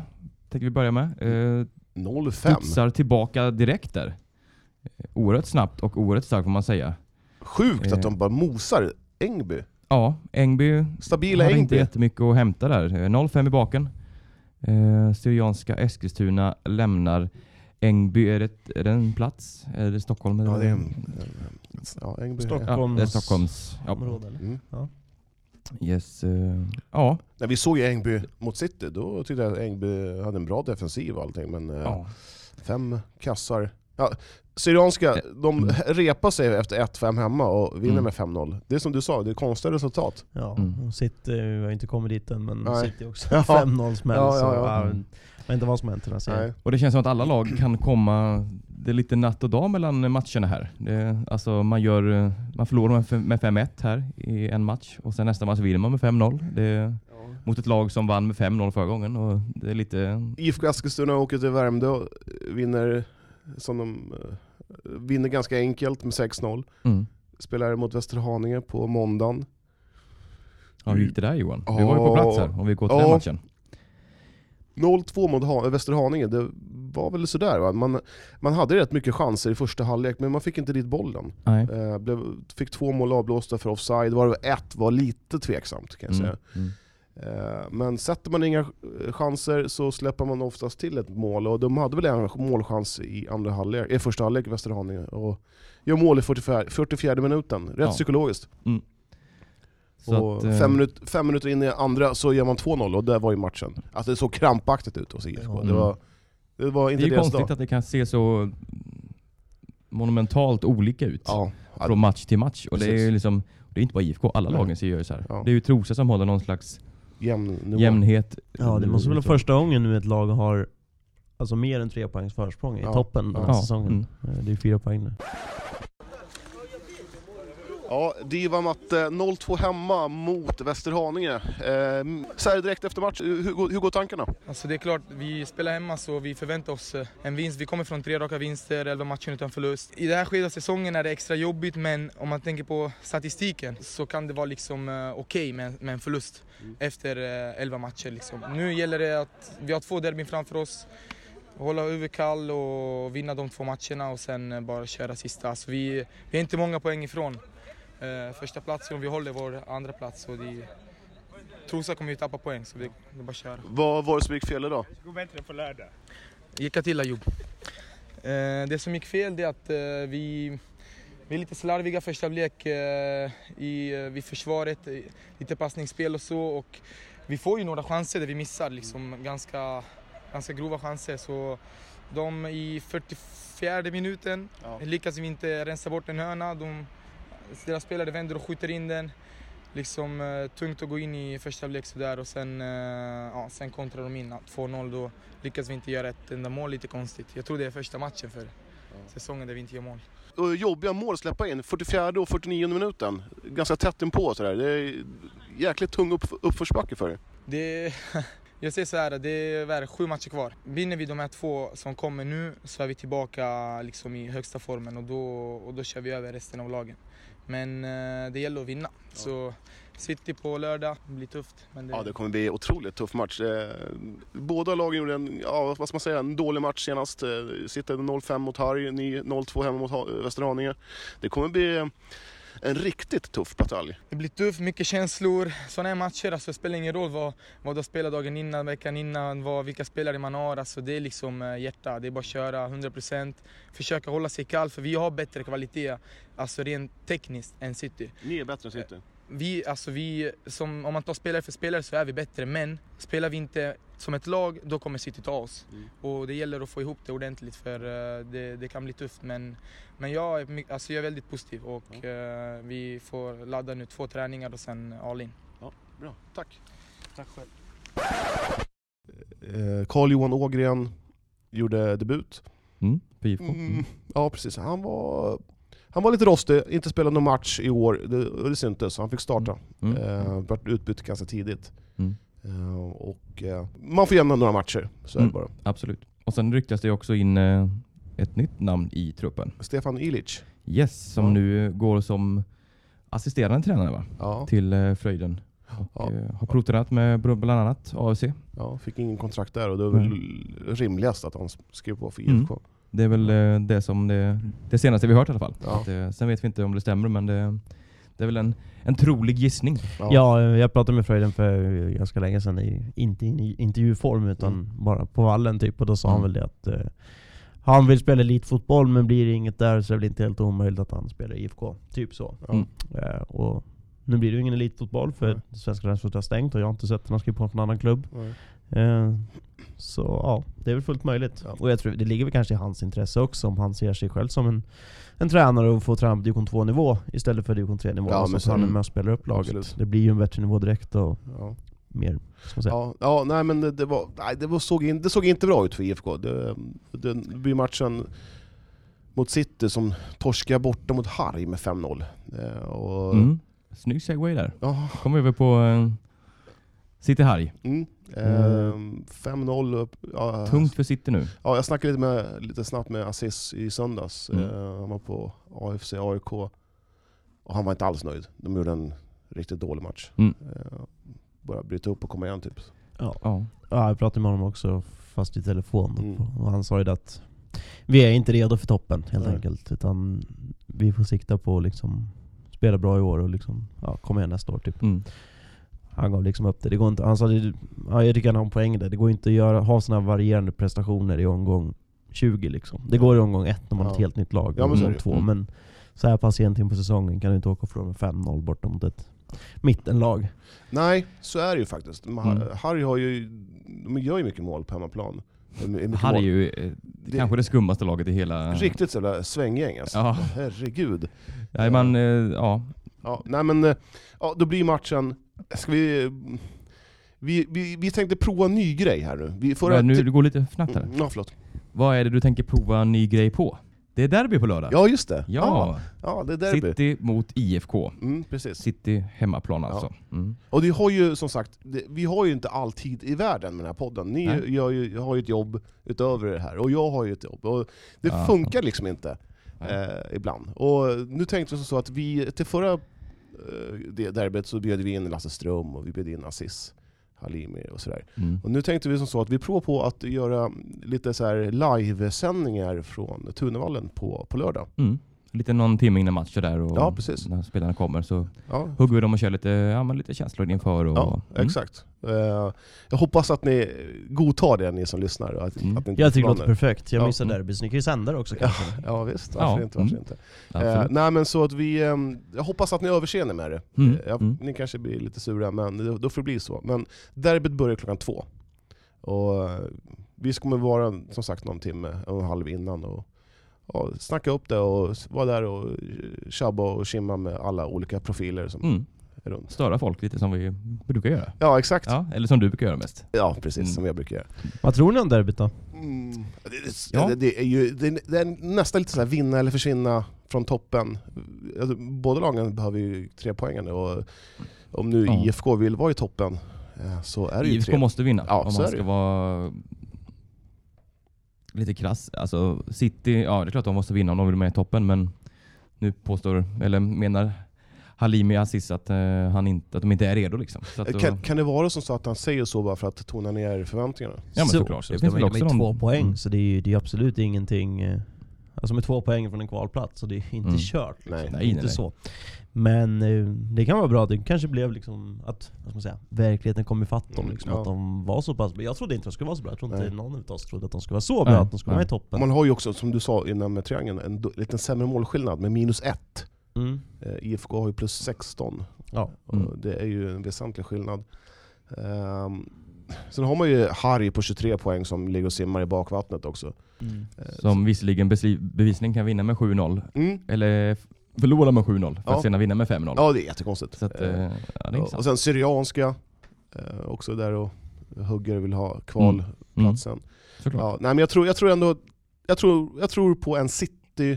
[SPEAKER 2] tänker vi börja med. Eh,
[SPEAKER 4] 05.
[SPEAKER 2] studsar tillbaka direkt där. Eh, Oerhört snabbt och oerhört starkt får man säga.
[SPEAKER 4] Sjukt
[SPEAKER 2] Eh.
[SPEAKER 4] att de bara mosar Ängby.
[SPEAKER 2] Ja, Ängby
[SPEAKER 4] Stabila
[SPEAKER 2] hade inte
[SPEAKER 4] Ängby.
[SPEAKER 2] jättemycket att hämta där. Eh, 0-5 i baken. Eh, Syrianska Eskilstuna lämnar Ängby. Är det, är det en plats? Är det Stockholm?
[SPEAKER 4] Ja,
[SPEAKER 2] eller-
[SPEAKER 4] det är en... Ja, Ängby.
[SPEAKER 3] Stockholm.
[SPEAKER 2] Ja, det är Stockholms. Ja,
[SPEAKER 3] Område, eller?
[SPEAKER 4] Mm.
[SPEAKER 2] yes, eh, ja,
[SPEAKER 4] När vi såg Ängby mot City, då tyckte jag att Ängby hade en bra defensiv och allting, men eh,
[SPEAKER 2] ja.
[SPEAKER 4] fem kassar. Ja, Syrianska, de
[SPEAKER 2] Mm.
[SPEAKER 4] repar sig efter 1-5 hemma och vinner
[SPEAKER 2] Mm.
[SPEAKER 4] med 5-0. Det är som du sa, det är konstiga resultat.
[SPEAKER 3] Ja,
[SPEAKER 2] Mm.
[SPEAKER 3] och City vi har inte kommit dit än men
[SPEAKER 4] Nej.
[SPEAKER 3] City också.
[SPEAKER 4] Ja.
[SPEAKER 3] 5-0 smäll.
[SPEAKER 4] Ja, ja,
[SPEAKER 3] så,
[SPEAKER 4] ja.
[SPEAKER 3] Jag vet inte vad som hänt i den här serien.
[SPEAKER 4] Nej.
[SPEAKER 2] Och det känns som att alla lag kan komma... Det är lite natt och dag mellan matcherna här. Det, alltså man, gör, eh, man förlorar med fem- med 5-1 här i en match och sen nästa match vinner man med 5-0. Det, mot ett lag som vann med 5-0 förra gången. Och det är lite...
[SPEAKER 4] IFK Eskilstuna åker till Värmdö och vinner, som de, eh, vinner ganska enkelt med 6-0.
[SPEAKER 2] Mm.
[SPEAKER 4] Spelar mot Västerhaninge på måndagen.
[SPEAKER 2] Ja, hur gick det där Johan? Du var ju på plats här om vi går till den
[SPEAKER 4] Ja.
[SPEAKER 2] matchen.
[SPEAKER 4] 0-2 mot ha- eh, Västerhaninge, det var väl sådär va? Man, man hade rätt mycket chanser i första halvlek, men man fick inte dit bollen.
[SPEAKER 2] Nej.
[SPEAKER 3] Mm.
[SPEAKER 4] Eh, blev, fick två mål avblåsta för offside, varav ett var lite tveksamt kan jag
[SPEAKER 2] Mm.
[SPEAKER 4] säga.
[SPEAKER 2] Mm.
[SPEAKER 4] Eh, Men sätter man inga eh, chanser så släpper man oftast till ett mål och de hade väl en målchans i andra halvlek, eh, första halvlek, Västerhaninge. Och gör mål i 44, 44 minuten, rätt
[SPEAKER 2] Ja.
[SPEAKER 4] psykologiskt.
[SPEAKER 2] Så
[SPEAKER 4] och
[SPEAKER 2] att, eh,
[SPEAKER 4] fem, minut, fem minuter in i andra så gör man 2-0 och där var ju matchen. Alltså det såg krampaktigt ut hos IFK.
[SPEAKER 5] Ja.
[SPEAKER 4] Det, var, det var
[SPEAKER 2] det är
[SPEAKER 4] inte
[SPEAKER 2] ju
[SPEAKER 4] deras
[SPEAKER 2] konstigt
[SPEAKER 4] dag.
[SPEAKER 2] att det kan se så monumentalt olika ut
[SPEAKER 4] Ja, ja,
[SPEAKER 2] från match till match. Och det är
[SPEAKER 4] Precis.
[SPEAKER 2] ju liksom, det är inte bara IFK, alla
[SPEAKER 4] Nej.
[SPEAKER 2] lagen ser ju så här.
[SPEAKER 4] Ja.
[SPEAKER 2] Det är ju Trosa som håller någon slags
[SPEAKER 4] jämn nivå.
[SPEAKER 2] jämnhet.
[SPEAKER 3] Ja, det måste väl vara
[SPEAKER 2] Så-
[SPEAKER 3] första gången nu ett lag har alltså, mer än tre poängs försprång i
[SPEAKER 4] Ja.
[SPEAKER 3] toppen den här
[SPEAKER 2] Ja, Mm.
[SPEAKER 3] säsongen. Eh, Det är fyra poäng nu.
[SPEAKER 4] Ja, Diva Matte, 0-2 hemma mot Västerhaninge. Eh, så här direkt efter match, hur, går- hur går tankarna?
[SPEAKER 6] Alltså det är klart, vi spelar hemma så vi förväntar oss eh, en vinst. Vi kommer från tre raka vinster, elva matcher utan förlust. I det här skedet av säsongen är det extra jobbigt men om man tänker på statistiken så kan det vara liksom eh, okej med, med en förlust efter eh, elva matcher. Liksom. Nu gäller det att vi har två derbyn framför oss. Hålla huvudet kall och vinna de två matcherna och sen eh, bara köra sista. Alltså vi, vi är inte många poäng ifrån eh, första platsen och vi håller vår andra plats. Och det, Trosa kommer ju tappa poäng så vi, det är bara att köra.
[SPEAKER 4] Vad var det som gick fel idag?
[SPEAKER 6] Lycka till Ayoub. Eh, det som gick fel det är att eh, vi, vi är lite slarviga första halvlek eh, i, eh, vid försvaret. eh, Lite passningsspel och så. Och vi får ju några chanser där vi missar. Liksom, ganska, ganska grova chanser. Så de i 44 minuten
[SPEAKER 4] Ja.
[SPEAKER 6] lyckas vi inte rensa bort en hörna. De, deras spelare vänder och skjuter in den. Liksom eh, tungt att gå in i första halvlek sådär och sen, eh, ja, sen kontrar de in ja, 2-0. Då lyckas vi inte göra ett enda mål, lite konstigt. Jag tror det är första matchen för säsongen där vi inte gör mål.
[SPEAKER 4] Och Jobbiga mål att släppa in, 44 och 49 minuten. Ganska tätt inpå sådär. Det är jäkligt tung upp, uppförsbacke för er.
[SPEAKER 6] Det, jag säger så här, det är vad är det, sju matcher kvar. Vinner vi de här två som kommer nu så är vi tillbaka liksom i högsta formen och då, och då kör vi över resten av lagen. Men eh, det gäller att vinna. Så City på lördag, det blir tufft. Men det,
[SPEAKER 4] Ja, det kommer bli en otroligt tuff match. Eh, Båda lagen gjorde en, ja, vad ska man säga, en dålig match senast. Eh, Sitter 0-5 mot Harry, ni 0-2 hemma mot Ha- Västerhaninge. Det kommer bli eh, en riktigt tuff batalj.
[SPEAKER 6] Det blir tufft, mycket känslor. Sådana här matcher, alltså, det spelar ingen roll vad, vad du har spelat dagen innan, veckan innan, vad, vilka spelare man har. Alltså, det är liksom eh, hjärta, det är bara att köra 100%. Försöka hålla sig kall, för vi har bättre kvalitet, alltså rent tekniskt, än City.
[SPEAKER 4] Ni är bättre än City.
[SPEAKER 6] Vi, alltså vi, som, om man tar spelare för spelare så är vi bättre, men spelar vi inte som ett lag, då kommer City ta oss.
[SPEAKER 4] Mm.
[SPEAKER 6] Och det gäller att få ihop det ordentligt, för eh, det, det kan bli tufft. Men, men jag, är, my- alltså jag är väldigt positiv och eh, vi får ladda nu två träningar och sen all in.
[SPEAKER 4] Bra, tack.
[SPEAKER 6] Tack själv.
[SPEAKER 4] Eh, Carl-Johan Ågren gjorde debut.
[SPEAKER 2] Mm, för IFK. Mm.
[SPEAKER 4] Ja, precis. Han var, han var lite rostig, inte spelat någon match i år. Det, och det syntes, så han fick starta.
[SPEAKER 2] Mm.
[SPEAKER 4] Eh, vart utbytt ganska tidigt.
[SPEAKER 2] Mm.
[SPEAKER 4] Eh, och, eh, man får jämna några matcher, så är det
[SPEAKER 2] Mm.
[SPEAKER 4] bara.
[SPEAKER 2] Absolut. Och sen ryktas det också in eh, ett nytt namn i truppen.
[SPEAKER 4] Stefan Ilic.
[SPEAKER 2] Yes, som
[SPEAKER 4] Ja.
[SPEAKER 2] nu går som assisterande tränare va?
[SPEAKER 4] Ja,
[SPEAKER 2] till eh, Fröjden. Och,
[SPEAKER 4] Ja.
[SPEAKER 2] eh, har provtränat med br- bland annat AFC.
[SPEAKER 4] ja, fick ingen kontrakt där och det var väl rimligast att han skrev på för
[SPEAKER 2] Mm.
[SPEAKER 4] IFK.
[SPEAKER 2] Det är väl eh, det, som det, det senaste vi hört i alla fall.
[SPEAKER 4] Ja.
[SPEAKER 2] Att, eh, sen vet vi inte om det stämmer men det, det är väl en, en trolig gissning.
[SPEAKER 4] Ja.
[SPEAKER 3] Ja, eh, jag pratade med Fröjden för ganska länge sedan, i, inte i intervjuform utan bara på vallen typ, och då sa han
[SPEAKER 2] Mm.
[SPEAKER 3] väl det att eh, han vill spela elitfotboll men blir det inget där så är det väl inte helt omöjligt att han spelar i IFK. Typ så.
[SPEAKER 2] Mm.
[SPEAKER 3] Eh, och nu blir det ju ingen elitfotboll för
[SPEAKER 4] Nej.
[SPEAKER 3] svenska landslaget har stängt och jag har inte sett att han har skrivit på någon annan klubb.
[SPEAKER 4] Nej.
[SPEAKER 3] Eh, så ja, det är väl fullt möjligt.
[SPEAKER 4] Ja.
[SPEAKER 3] Och jag tror det ligger väl kanske i hans intresse också om han ser sig själv som en, en tränare och får träna på division 2 nivå istället för division 3 nivå.
[SPEAKER 4] Ja,
[SPEAKER 3] så
[SPEAKER 4] men
[SPEAKER 3] att
[SPEAKER 4] så-
[SPEAKER 3] han är med och spelar upp laget.
[SPEAKER 4] Absolut.
[SPEAKER 3] Det blir ju en bättre nivå direkt och
[SPEAKER 4] Ja.
[SPEAKER 3] mer. Ska man säga.
[SPEAKER 4] Ja, ja, nej men det, det, var, nej, det, var, såg in, det såg inte bra ut för IFK. Det, det blir matchen mot City som torskar borta mot Harry med 5-0. Eh, och,
[SPEAKER 2] Mm. Snygg segway där.
[SPEAKER 4] Ja,
[SPEAKER 2] Kommer över på eh, City Harg.
[SPEAKER 4] mm, eh, 5-0. upp- Ja,
[SPEAKER 2] Tungt för City nu.
[SPEAKER 4] Ja, jag snackade lite, med, lite snabbt med Aziz i söndags.
[SPEAKER 2] Mm.
[SPEAKER 4] Eh, han var på AFC AIK. Och han var inte alls nöjd. De gjorde en riktigt dålig match.
[SPEAKER 2] Mm.
[SPEAKER 4] Eh, bara bryta upp och komma igen typ.
[SPEAKER 2] Ja.
[SPEAKER 3] Ja, jag pratade med honom också, fast i telefon.
[SPEAKER 4] Mm.
[SPEAKER 3] Och han sa ju det att vi är inte redo för toppen helt
[SPEAKER 4] Nej.
[SPEAKER 3] enkelt. Utan vi får sikta på att liksom spela bra i år och liksom, ja, komma igen nästa år. Typ.
[SPEAKER 2] Mm.
[SPEAKER 3] Han gav liksom upp det. det går inte, han sa det, ja, jag tycker han har en poäng där. Det går inte att göra, ha sådana varierande prestationer i omgång 20 liksom. Det går i omgång 1 när man har ett
[SPEAKER 4] Ja.
[SPEAKER 3] helt nytt lag,
[SPEAKER 4] Ja, men så är
[SPEAKER 3] omgång
[SPEAKER 4] det
[SPEAKER 3] 2.
[SPEAKER 4] ju.
[SPEAKER 2] Mm.
[SPEAKER 3] Men så här pass sent in på säsongen kan du inte åka och förlora med 5-0 borta mot ett mittenlag.
[SPEAKER 4] Nej, så är det ju faktiskt. De har-
[SPEAKER 3] Mm.
[SPEAKER 4] Harry har ju, de gör ju mycket mål på hemmaplan. Det är mycket
[SPEAKER 2] Harry är
[SPEAKER 4] mål.
[SPEAKER 2] ju eh,
[SPEAKER 4] Det-
[SPEAKER 2] kanske det skummaste laget i hela...
[SPEAKER 4] Riktigt så jävla svänggäng alltså.
[SPEAKER 2] Ja.
[SPEAKER 4] Herregud.
[SPEAKER 2] Nej, man, eh, ja.
[SPEAKER 4] Ja, nej men, eh, ja, då blir matchen... Ska vi, vi, vi, vi tänkte prova en ny grej här nu. Vi, förra,
[SPEAKER 2] Men nu, det går lite fnatt här.
[SPEAKER 4] Mm, ja, förlåt.
[SPEAKER 2] Vad är det du tänker prova en ny grej på? Det är derby på lördag.
[SPEAKER 4] Ja, just det. Ah.
[SPEAKER 2] Ja,
[SPEAKER 4] ja det är derby.
[SPEAKER 2] City mot IFK.
[SPEAKER 4] Mm, precis.
[SPEAKER 2] City hemmaplan alltså. Mm.
[SPEAKER 4] Och det har ju som sagt, det, vi har ju inte all tid i världen med den här podden. Ni
[SPEAKER 2] Nej.
[SPEAKER 4] gör ju, har ju ett jobb utöver det här, och jag har ju ett jobb. Och det
[SPEAKER 2] Ja.
[SPEAKER 4] funkar liksom inte
[SPEAKER 2] Nej.
[SPEAKER 4] eh, ibland. Och nu tänkte vi som så att vi, till förra eh, det derbyt så bjöd vi in Lasse Ström och vi bjöd in Aziz Halimi och sådär.
[SPEAKER 2] Mm.
[SPEAKER 4] Och nu tänkte vi som så att vi provar på att göra lite så här livesändningar från Tunavallen på, på lördag.
[SPEAKER 2] Mm. Lite någon timme innan matcher där och
[SPEAKER 4] Ja, precis.
[SPEAKER 2] när spelarna kommer så
[SPEAKER 4] Ja,
[SPEAKER 2] hugger vi dem och kör lite, ja, men lite känslor inför. Och,
[SPEAKER 4] ja
[SPEAKER 2] Mm.
[SPEAKER 4] exakt. Eh, jag hoppas att ni godtar det, ni som lyssnar. och Att,
[SPEAKER 2] Mm.
[SPEAKER 4] att ni inte
[SPEAKER 3] Jag tycker det låter
[SPEAKER 4] försvann nu.
[SPEAKER 3] perfekt. Jag
[SPEAKER 4] Ja.
[SPEAKER 3] missar derby, så ni kan ju sända det också
[SPEAKER 4] Ja,
[SPEAKER 3] kanske.
[SPEAKER 4] ja visst, varför
[SPEAKER 2] Ja,
[SPEAKER 4] inte? Varför
[SPEAKER 2] mm.
[SPEAKER 4] inte? Eh,
[SPEAKER 2] Absolut.
[SPEAKER 4] nej men så att vi, ehm, jag hoppas att ni överseende med det.
[SPEAKER 2] Mm,
[SPEAKER 4] Eh, jag,
[SPEAKER 2] mm.
[SPEAKER 4] Ni kanske blir lite sura, men då, då får det bli så. Men derbyt börjar klockan två. Och eh, vi kommer vara som sagt någon timme, en och en halv innan och ja, snacka upp det och s- vara där och eh, tjabba och tjimma med alla olika profiler som
[SPEAKER 2] Mm.
[SPEAKER 4] är runt.
[SPEAKER 2] Störa folk lite som vi brukar göra.
[SPEAKER 4] Ja exakt, ja,
[SPEAKER 2] Ja, eller som du brukar göra mest.
[SPEAKER 4] precis
[SPEAKER 2] Mm.
[SPEAKER 4] som jag brukar göra.
[SPEAKER 3] Vad tror ni om derbyt då?
[SPEAKER 4] Mm. Det,
[SPEAKER 2] Ja.
[SPEAKER 4] det, det är ju det är, det är nästan lite så här vinna eller försvinna från toppen. Alltså, båda lagen behöver ju tre poäng nu och om nu
[SPEAKER 2] Ja.
[SPEAKER 4] IFK vill vara i toppen eh, så är det ju
[SPEAKER 2] IFK
[SPEAKER 4] tre.
[SPEAKER 2] måste vinna
[SPEAKER 4] Ja,
[SPEAKER 2] om man
[SPEAKER 4] så är det
[SPEAKER 2] ska
[SPEAKER 4] ju.
[SPEAKER 2] vara lite krass. Alltså City, ja det är klart de måste vinna om de vill med i toppen men nu påstår, eller menar Halimi Aziz att, eh, han inte, att de inte är redo liksom. Så att då,
[SPEAKER 4] Eh, Kan, kan det vara som så att han säger så bara för att tona ner förväntningarna?
[SPEAKER 2] ja men
[SPEAKER 3] Så-
[SPEAKER 2] såklart.
[SPEAKER 3] Så
[SPEAKER 2] det
[SPEAKER 3] ska
[SPEAKER 2] finns
[SPEAKER 3] man
[SPEAKER 2] väl
[SPEAKER 3] ju med
[SPEAKER 2] också någon,
[SPEAKER 3] två poäng,
[SPEAKER 2] Mm.
[SPEAKER 3] så det är ju det är absolut ingenting... eh, Alltså med två poäng från en kvalplats, så det är inte
[SPEAKER 2] Mm.
[SPEAKER 3] kört. Liksom.
[SPEAKER 4] Nej.
[SPEAKER 3] Det är
[SPEAKER 2] Nej,
[SPEAKER 3] inte
[SPEAKER 2] nej, nej.
[SPEAKER 3] så. Men eh, det kan vara bra, det kanske blev liksom att, vad ska man säga, verkligheten kom ifatt dem.
[SPEAKER 4] Mm,
[SPEAKER 3] Liksom,
[SPEAKER 4] ja.
[SPEAKER 3] Att de var så pass bra. Jag trodde inte de skulle vara så bra, jag tror inte
[SPEAKER 4] Nej.
[SPEAKER 3] någon av oss trodde att de skulle vara så bra,
[SPEAKER 2] Nej,
[SPEAKER 3] att de skulle vara
[SPEAKER 2] nej.
[SPEAKER 3] med i toppen.
[SPEAKER 4] Man har ju också, som du sa innan med triangeln, en do- liten sämre målskillnad med minus ett.
[SPEAKER 3] Mm.
[SPEAKER 4] Eh, IFK har ju plus 16.
[SPEAKER 3] Ja.
[SPEAKER 4] Och
[SPEAKER 2] Mm.
[SPEAKER 4] Det är ju en väsentlig skillnad. Um, sen har man ju Harry på 23 poäng som ligger och simmar i bakvattnet också. Eh,
[SPEAKER 2] som visserligen besli- bevisligen kan vinna med 7-0
[SPEAKER 4] Mm.
[SPEAKER 2] eller f- förlora med 7-0 för
[SPEAKER 4] Ja.
[SPEAKER 2] att sedan vinna med 5-0.
[SPEAKER 4] Ja, det är jättekonstigt.
[SPEAKER 2] Så att, eh,
[SPEAKER 4] Eh,
[SPEAKER 2] ja, det är
[SPEAKER 4] och
[SPEAKER 2] intressant.
[SPEAKER 4] sen Syrianska, eh, också där och hugger vill ha kvalplatsen.
[SPEAKER 2] Mm, såklart.
[SPEAKER 4] Ja, nej, men jag tror, jag tror ändå jag tror, jag tror på en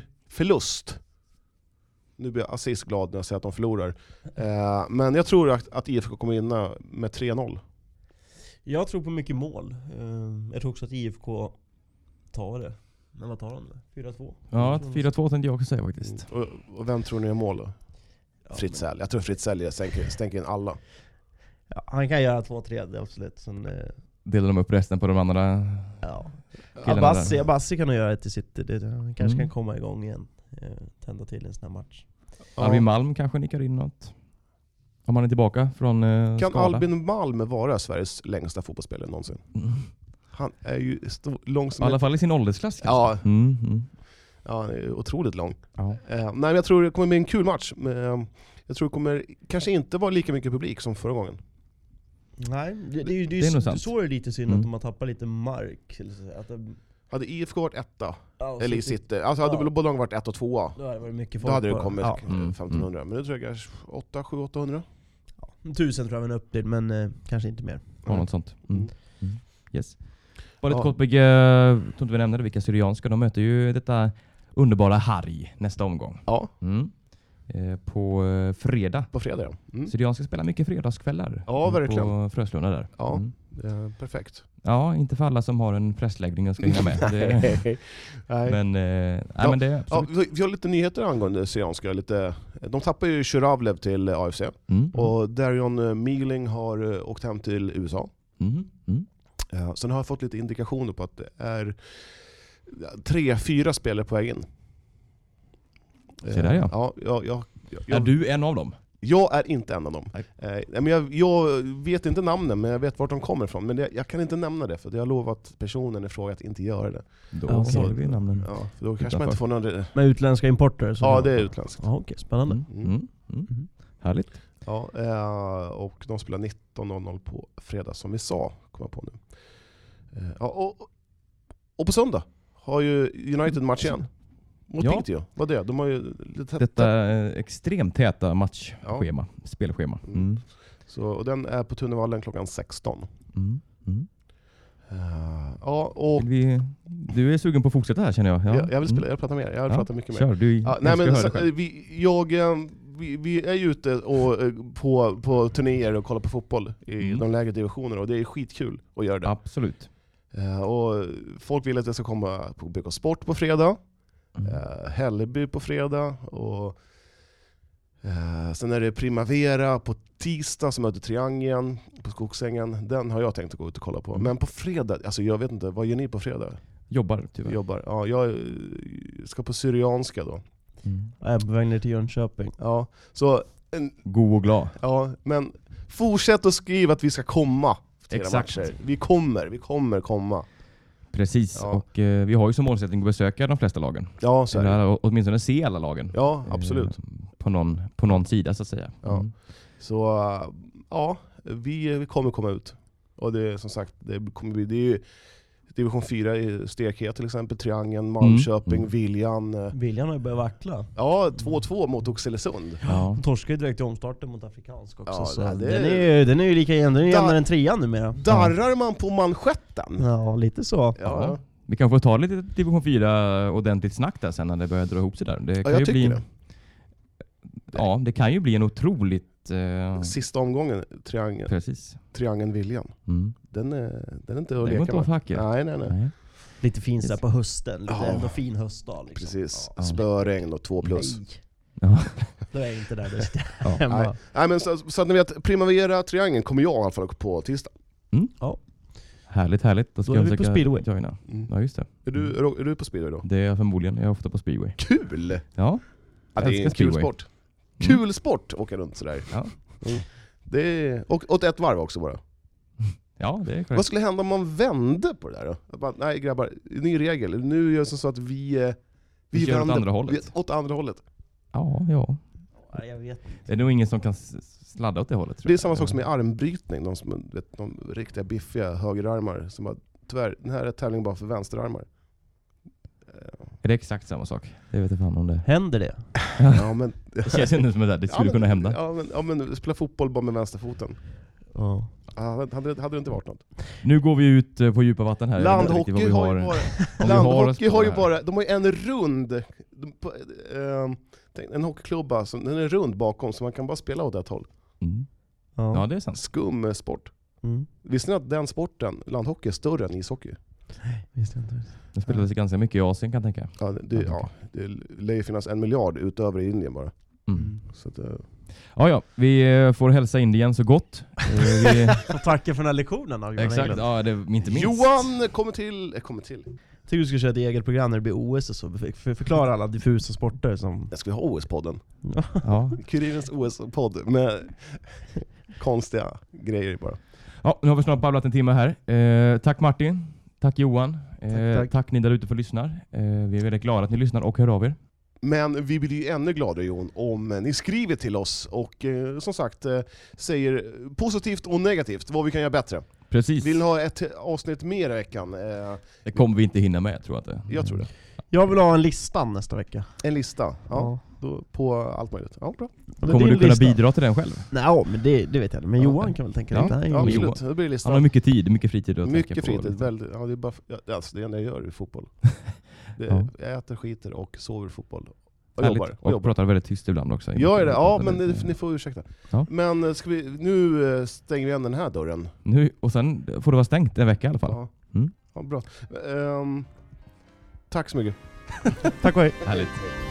[SPEAKER 4] City-förlust. Nu blir Aziz glad när jag säger att de förlorar. Eh, men jag tror att, att IFK kommer vinna med 3-0.
[SPEAKER 3] Jag tror på mycket mål. Eh, Jag tror också att IFK tar det. Men vad tar de nu? 4-2?
[SPEAKER 2] Ja,
[SPEAKER 3] Jag tror de-
[SPEAKER 2] 4-2 tänkte jag också säga faktiskt.
[SPEAKER 4] Och, och vem tror ni gör mål då?
[SPEAKER 3] Ja,
[SPEAKER 4] Fritzell. Jag tror Fritzell stänker, stänker in alla.
[SPEAKER 3] Ja, han kan göra 2-3, det är absolut. Sen, eh,
[SPEAKER 2] Delar de upp resten på de andra
[SPEAKER 3] ja.
[SPEAKER 2] Killarna
[SPEAKER 3] Abassi,
[SPEAKER 2] där.
[SPEAKER 3] Abassi kan nog göra ett till City, det, han kanske
[SPEAKER 2] Mm.
[SPEAKER 3] kan komma igång igen. Eh, Tända till en sån här match.
[SPEAKER 2] Albin
[SPEAKER 4] Ja.
[SPEAKER 2] Malm kanske nickar in något. Om han är tillbaka från eh,
[SPEAKER 4] Kan
[SPEAKER 2] skada.
[SPEAKER 4] Albin Malm vara Sveriges längsta fotbollsspelare någonsin?
[SPEAKER 2] Mm.
[SPEAKER 4] Han är ju stor, lång
[SPEAKER 2] I
[SPEAKER 4] som
[SPEAKER 2] alla
[SPEAKER 4] ett-
[SPEAKER 2] fall i sin åldersklass kanske.
[SPEAKER 4] Ja,
[SPEAKER 2] Mm, mm.
[SPEAKER 4] ja, han är ju otroligt lång.
[SPEAKER 2] ja.
[SPEAKER 4] Eh, nej, men jag tror det kommer bli en kul match. Men, eh, jag tror det kommer kanske inte vara lika mycket publik som förra gången.
[SPEAKER 3] Nej, det, det, är ju- det,
[SPEAKER 2] Det
[SPEAKER 3] är
[SPEAKER 2] är nog
[SPEAKER 3] ju
[SPEAKER 2] sant.
[SPEAKER 3] så- så är det lite synd
[SPEAKER 2] Mm.
[SPEAKER 3] att de har tappat lite mark. eller så, Att de,
[SPEAKER 4] Hade IFK varit etta,
[SPEAKER 3] ja,
[SPEAKER 4] eller i
[SPEAKER 3] så-
[SPEAKER 4] city, alltså hade
[SPEAKER 3] Ja.
[SPEAKER 4] båda lagen varit etta och tvåa,
[SPEAKER 3] Då hade det varit mycket
[SPEAKER 4] då
[SPEAKER 3] folk
[SPEAKER 4] hade det
[SPEAKER 3] på-
[SPEAKER 4] kommit
[SPEAKER 3] Ja,
[SPEAKER 4] eh,
[SPEAKER 2] Mm,
[SPEAKER 4] 1500. Men nu tror jag kanske 8, 7, 800.
[SPEAKER 3] tusen tror jag var upp till, men eh, kanske inte mer.
[SPEAKER 2] ja, något sånt. Mm. Mm. Yes. Bara ett
[SPEAKER 4] Ja.
[SPEAKER 2] kort bygge, jag tror inte vi nämnde det, vilka Syrianska. De möter ju detta underbara Harry nästa omgång.
[SPEAKER 4] Ja,
[SPEAKER 2] Mm. Eh, på eh, fredag.
[SPEAKER 4] på fredag ja. Mm.
[SPEAKER 2] Syrianska spelar mycket fredagskvällar.
[SPEAKER 4] Ja,
[SPEAKER 2] eh, På
[SPEAKER 4] verkligen.
[SPEAKER 2] Fröslunda där.
[SPEAKER 4] Ja.
[SPEAKER 2] Mm.
[SPEAKER 4] Eh, perfekt.
[SPEAKER 2] ja, inte för alla som har en pressläggning och ska hinna med. det,
[SPEAKER 4] Nej.
[SPEAKER 2] men, eh, nej, men det är
[SPEAKER 4] Ja,
[SPEAKER 2] absolut.
[SPEAKER 4] vi vi har lite nyheter angående Syrianska. Lite, de tappar ju Shuravlev till eh, AFC.
[SPEAKER 2] Mm.
[SPEAKER 4] Och Darion eh, Mealing har eh, åkt hem till USA.
[SPEAKER 2] Mm. Mm.
[SPEAKER 4] Eh, Sen har jag fått lite indikationer på att det är ja, tre, fyra spelare på väg in. Eh,
[SPEAKER 2] Se där, ja.
[SPEAKER 4] ja jag, jag, jag,
[SPEAKER 2] Är du en av dem?
[SPEAKER 4] Jag är inte en av dem.
[SPEAKER 2] Nej.
[SPEAKER 4] Eh, nej, men jag, jag vet inte namnen, men jag vet vart de kommer ifrån. Men det, jag kan inte nämna det, för jag har lovat personen i fråga att inte göra det.
[SPEAKER 2] Då
[SPEAKER 3] Ja, okej.
[SPEAKER 2] sålde vi namnen.
[SPEAKER 4] Ja, för då kanske man inte får någon...
[SPEAKER 3] Med utländska importer? Så
[SPEAKER 4] Ja, det är utländskt.
[SPEAKER 3] Ja, Okej, spännande.
[SPEAKER 2] Mm. Mm. Mm. Härligt.
[SPEAKER 4] Ja, eh, och de spelar 19.00 på fredag som vi sa, kom jag på nu. Eh, ja, och, och på söndag har ju United match igen. Mot
[SPEAKER 2] Ja.
[SPEAKER 4] Piteå. Vad det? De har ju lite
[SPEAKER 2] Detta eh, extremt täta matchschema, spelschema.
[SPEAKER 4] Mm.
[SPEAKER 2] Mm.
[SPEAKER 4] Så, och den är på Tunnevallen klockan 16.
[SPEAKER 2] Mm. Mm.
[SPEAKER 4] Eh, ja, och
[SPEAKER 2] Vill Vi, du är sugen på att fortsätta här känner jag. Ja.
[SPEAKER 4] jag, jag vill spela,
[SPEAKER 2] Mm.
[SPEAKER 4] jag pratar mer. Jag vill
[SPEAKER 2] Ja,
[SPEAKER 4] prata mycket mer.
[SPEAKER 2] Kör, du
[SPEAKER 4] Ja, nej,
[SPEAKER 2] nej,
[SPEAKER 4] men,
[SPEAKER 2] höra
[SPEAKER 4] så,
[SPEAKER 2] dig själv.
[SPEAKER 4] vi, jag, eh, vi, vi är ju ute och, eh, på, på turnéer och kollar på fotboll i
[SPEAKER 2] Mm.
[SPEAKER 4] de lägre divisionerna och det är skitkul att göra det.
[SPEAKER 2] Absolut.
[SPEAKER 4] Eh, och folk vill att jag ska komma på BK Sport på fredag,
[SPEAKER 2] Mm.
[SPEAKER 4] eh, Hälleby på fredag, och eh, sen är det Primavera på tisdag som möter Triangeln på Skogsängen. Den har jag tänkt att gå ut och kolla på.
[SPEAKER 2] Mm.
[SPEAKER 4] Men på fredag, alltså jag vet inte, vad gör ni på fredag?
[SPEAKER 2] Jobbar tyvärr.
[SPEAKER 4] Jag jobbar. Ja, jag eh, ska på Syrianska då.
[SPEAKER 2] Mm.
[SPEAKER 3] Jag är på väg ner till Jönköping.
[SPEAKER 4] Ja, så
[SPEAKER 2] God och glad.
[SPEAKER 4] Ja, men fortsätt att skriva att vi ska komma till era
[SPEAKER 2] Exakt.
[SPEAKER 4] matcher. Vi kommer, vi kommer komma.
[SPEAKER 2] Precis,
[SPEAKER 4] Ja.
[SPEAKER 2] och eh, vi har ju som målsättning att besöka de flesta lagen.
[SPEAKER 4] Ja, så är det.
[SPEAKER 2] Eller å- åtminstone se alla lagen.
[SPEAKER 4] Ja, absolut.
[SPEAKER 2] Eh, På någon, på någon sida så att säga.
[SPEAKER 4] Ja.
[SPEAKER 2] Mm.
[SPEAKER 4] Så äh, ja, vi, vi kommer komma ut. Och det är som sagt, det kommer bli, det är ju division 4 i stekhet till exempel, Triangeln, Malmköping,
[SPEAKER 2] Mm.
[SPEAKER 4] Viljan. eh,
[SPEAKER 3] Viljan har ju börjat vackla.
[SPEAKER 4] Ja, 2-2 mot Oxelösund.
[SPEAKER 2] Ja.
[SPEAKER 3] De torskar ju direkt i omstarten mot Afrikansk också.
[SPEAKER 4] Ja,
[SPEAKER 3] så
[SPEAKER 4] det- Mm. det-
[SPEAKER 3] den, är ju, den är ju lika jämn, den är ju
[SPEAKER 4] Där-
[SPEAKER 3] jämnare än trean numera.
[SPEAKER 4] Darrar man på manschetten?
[SPEAKER 3] Ja, lite så.
[SPEAKER 4] Ja,
[SPEAKER 2] Vi kan få ta lite division 4 ordentligt snack där sen när det börjar dra ihop sig där. Det kan
[SPEAKER 4] jag
[SPEAKER 2] ju
[SPEAKER 4] tycker
[SPEAKER 2] bli en,
[SPEAKER 4] det.
[SPEAKER 2] Ja, det kan ju bli en otroligt... Eh,
[SPEAKER 4] sista omgången, triangeln,
[SPEAKER 2] precis.
[SPEAKER 4] triangeln Viljan.
[SPEAKER 2] Mm.
[SPEAKER 4] Den är, den är inte att
[SPEAKER 2] Det går inte
[SPEAKER 4] leka
[SPEAKER 2] av
[SPEAKER 4] med.
[SPEAKER 2] facket.
[SPEAKER 4] Nej, nej, nej.
[SPEAKER 2] Nej.
[SPEAKER 3] Lite fin så här på hösten, lite
[SPEAKER 4] Ja.
[SPEAKER 3] ändå fin höstdag liksom.
[SPEAKER 4] Precis.
[SPEAKER 3] Ja.
[SPEAKER 4] Spöregn och två plus.
[SPEAKER 3] Nej,
[SPEAKER 2] Ja.
[SPEAKER 3] då är jag inte där, då sitter jag
[SPEAKER 2] Ja.
[SPEAKER 3] hemma.
[SPEAKER 4] Nej. Nej, men så, så att ni vet, Primavera-triangeln kommer jag i alla fall på tisdag.
[SPEAKER 2] Härligt, härligt. Då ska
[SPEAKER 3] Då är
[SPEAKER 2] jag
[SPEAKER 3] vi på
[SPEAKER 2] försöka
[SPEAKER 3] speedway.
[SPEAKER 2] joina. Ja, just det.
[SPEAKER 4] Är, du, är, du- är du på speedway då?
[SPEAKER 2] Det är jag förmodligen. Jag är ofta på speedway.
[SPEAKER 4] Kul!
[SPEAKER 2] Ja. Mm.
[SPEAKER 4] Ja, det är en
[SPEAKER 2] Älskar
[SPEAKER 4] kul
[SPEAKER 2] speedway. Mm.
[SPEAKER 4] sport. Kul sport att åka runt sådär.
[SPEAKER 2] Ja.
[SPEAKER 4] Mm. Det är, och åt ett varv också bara.
[SPEAKER 2] Ja, det är
[SPEAKER 4] Vad
[SPEAKER 2] korrekt.
[SPEAKER 4] skulle hända om man vände på det där då? Att Bara, nej grabbar, ny regel. Nu gör det som så att vi... eh,
[SPEAKER 2] Vi kör åt
[SPEAKER 4] vänder-
[SPEAKER 2] andra hållet.
[SPEAKER 4] Vi, åt andra hållet.
[SPEAKER 2] Ja, ja.
[SPEAKER 3] Ja, jag vet.
[SPEAKER 2] Det är nog ingen som kan s- sladda åt det hållet. tror
[SPEAKER 4] Det är
[SPEAKER 2] jag.
[SPEAKER 4] samma sak som i armbrytning, de, som, vet, de riktiga biffiga högerarmar som bara, tyvärr, den här är tävlingen bara för vänsterarmar. Eh,
[SPEAKER 2] Är det exakt samma sak? Det vet jag fan om det.
[SPEAKER 3] Händer det?
[SPEAKER 4] Ja, men,
[SPEAKER 2] Det känns inte som att det skulle
[SPEAKER 4] men-
[SPEAKER 2] kunna hända.
[SPEAKER 4] Ja men, ja men spela fotboll bara med vänsterfoten.
[SPEAKER 3] Ja.
[SPEAKER 4] Ja, hade, hade det inte varit något?
[SPEAKER 2] Nu går vi ut eh, på djupa vatten här. Jag vet inte
[SPEAKER 4] Landhockey
[SPEAKER 2] riktigt vad
[SPEAKER 4] har,
[SPEAKER 2] vi om
[SPEAKER 4] ju bara,
[SPEAKER 2] vi har oss
[SPEAKER 4] landhockey
[SPEAKER 2] på
[SPEAKER 4] har ju
[SPEAKER 2] här.
[SPEAKER 4] bara, de har ju en rund, de- på, ehm, tänk, en hockeyklubba, som, den är rund bakom så man kan bara spela åt ett håll.
[SPEAKER 2] Mm.
[SPEAKER 3] Ja.
[SPEAKER 2] Ja, det är sant.
[SPEAKER 4] Skum eh, sport.
[SPEAKER 3] Mm.
[SPEAKER 4] Visste ni att den sporten, landhockey, är större än ishockey?
[SPEAKER 3] Visste jag inte.
[SPEAKER 2] Det spelades ganska mycket i Asien kan jag tänka.
[SPEAKER 4] Ja, det, det, ja, det lär ju finnas en miljard utöver i Indien bara.
[SPEAKER 2] Mm.
[SPEAKER 4] Så att, eh,
[SPEAKER 2] Ja, ja. Vi eh, får hälsa Indien så gott. Eh, Vi,
[SPEAKER 3] Och tacka för den här lektionen av Johan
[SPEAKER 2] exakt.
[SPEAKER 3] Englund.
[SPEAKER 2] Ja, det, inte minst.
[SPEAKER 4] Johan kommer till, eh, kommer till.
[SPEAKER 3] Tycker du ska köra ett eget program när det blir OS och så, För- för- förklara alla diffusa sporter som...
[SPEAKER 4] Jag ska ha OS-podden.
[SPEAKER 2] Ja.
[SPEAKER 4] Kurirens OS-podd med konstiga grejer bara.
[SPEAKER 2] ja, nu har vi snart babblat en timme här. Eh, tack Martin. Tack Johan. Eh,
[SPEAKER 3] Tack, tack.
[SPEAKER 2] ni där ute för att lyssnar. Eh, vi är väldigt glada att ni lyssnar och hör av er.
[SPEAKER 4] Men vi blir ju ännu gladare Jon om ni skriver till oss och eh, som sagt eh, säger positivt och negativt vad vi kan göra bättre.
[SPEAKER 2] Precis.
[SPEAKER 4] Vill ni ha ett avsnitt mer i veckan? Eh,
[SPEAKER 2] Det kommer vi inte hinna med tror jag inte.
[SPEAKER 4] jag tror det.
[SPEAKER 3] Jag vill ha en lista nästa vecka.
[SPEAKER 4] En lista ja, då, på allt möjligt. Ja, bra.
[SPEAKER 3] Men
[SPEAKER 2] Kommer
[SPEAKER 3] din
[SPEAKER 2] du kunna
[SPEAKER 3] lista.
[SPEAKER 2] bidra till den själv?
[SPEAKER 3] Nej, ja, men det, det vet jag inte. Men
[SPEAKER 4] Ja.
[SPEAKER 3] Johan kan väl tänka
[SPEAKER 2] Ja.
[SPEAKER 3] lite? Han är ju
[SPEAKER 4] Ja,
[SPEAKER 2] Johan.
[SPEAKER 4] absolut, det blir
[SPEAKER 2] Han har
[SPEAKER 4] listan.
[SPEAKER 2] mycket tid, mycket fritid att tänka
[SPEAKER 4] Mycket
[SPEAKER 2] på. liksom.
[SPEAKER 4] fritid. Väldigt, ja, det, är bara, ja, alltså, det enda jag gör är fotboll. Det,
[SPEAKER 2] Ja.
[SPEAKER 4] Jag äter, skiter och sover fotboll. Och
[SPEAKER 2] Härligt.
[SPEAKER 4] jobbar.
[SPEAKER 2] Och
[SPEAKER 4] Och jobbar.
[SPEAKER 2] pratar väldigt tyst ibland också.
[SPEAKER 4] Gör jag det? Ja,
[SPEAKER 2] Pratar
[SPEAKER 4] men ni,
[SPEAKER 2] väldigt-
[SPEAKER 4] ni får ursäkta.
[SPEAKER 2] Ja.
[SPEAKER 4] Men eh, ska vi, nu eh, stänger vi igen den här dörren.
[SPEAKER 2] Nu, och sen får det vara stängt en vecka i alla fall.
[SPEAKER 4] Ja,
[SPEAKER 2] Mm.
[SPEAKER 4] ja bra. Ehm, tack så mycket.
[SPEAKER 3] Tack och hej.
[SPEAKER 2] Härligt.
[SPEAKER 4] Hej.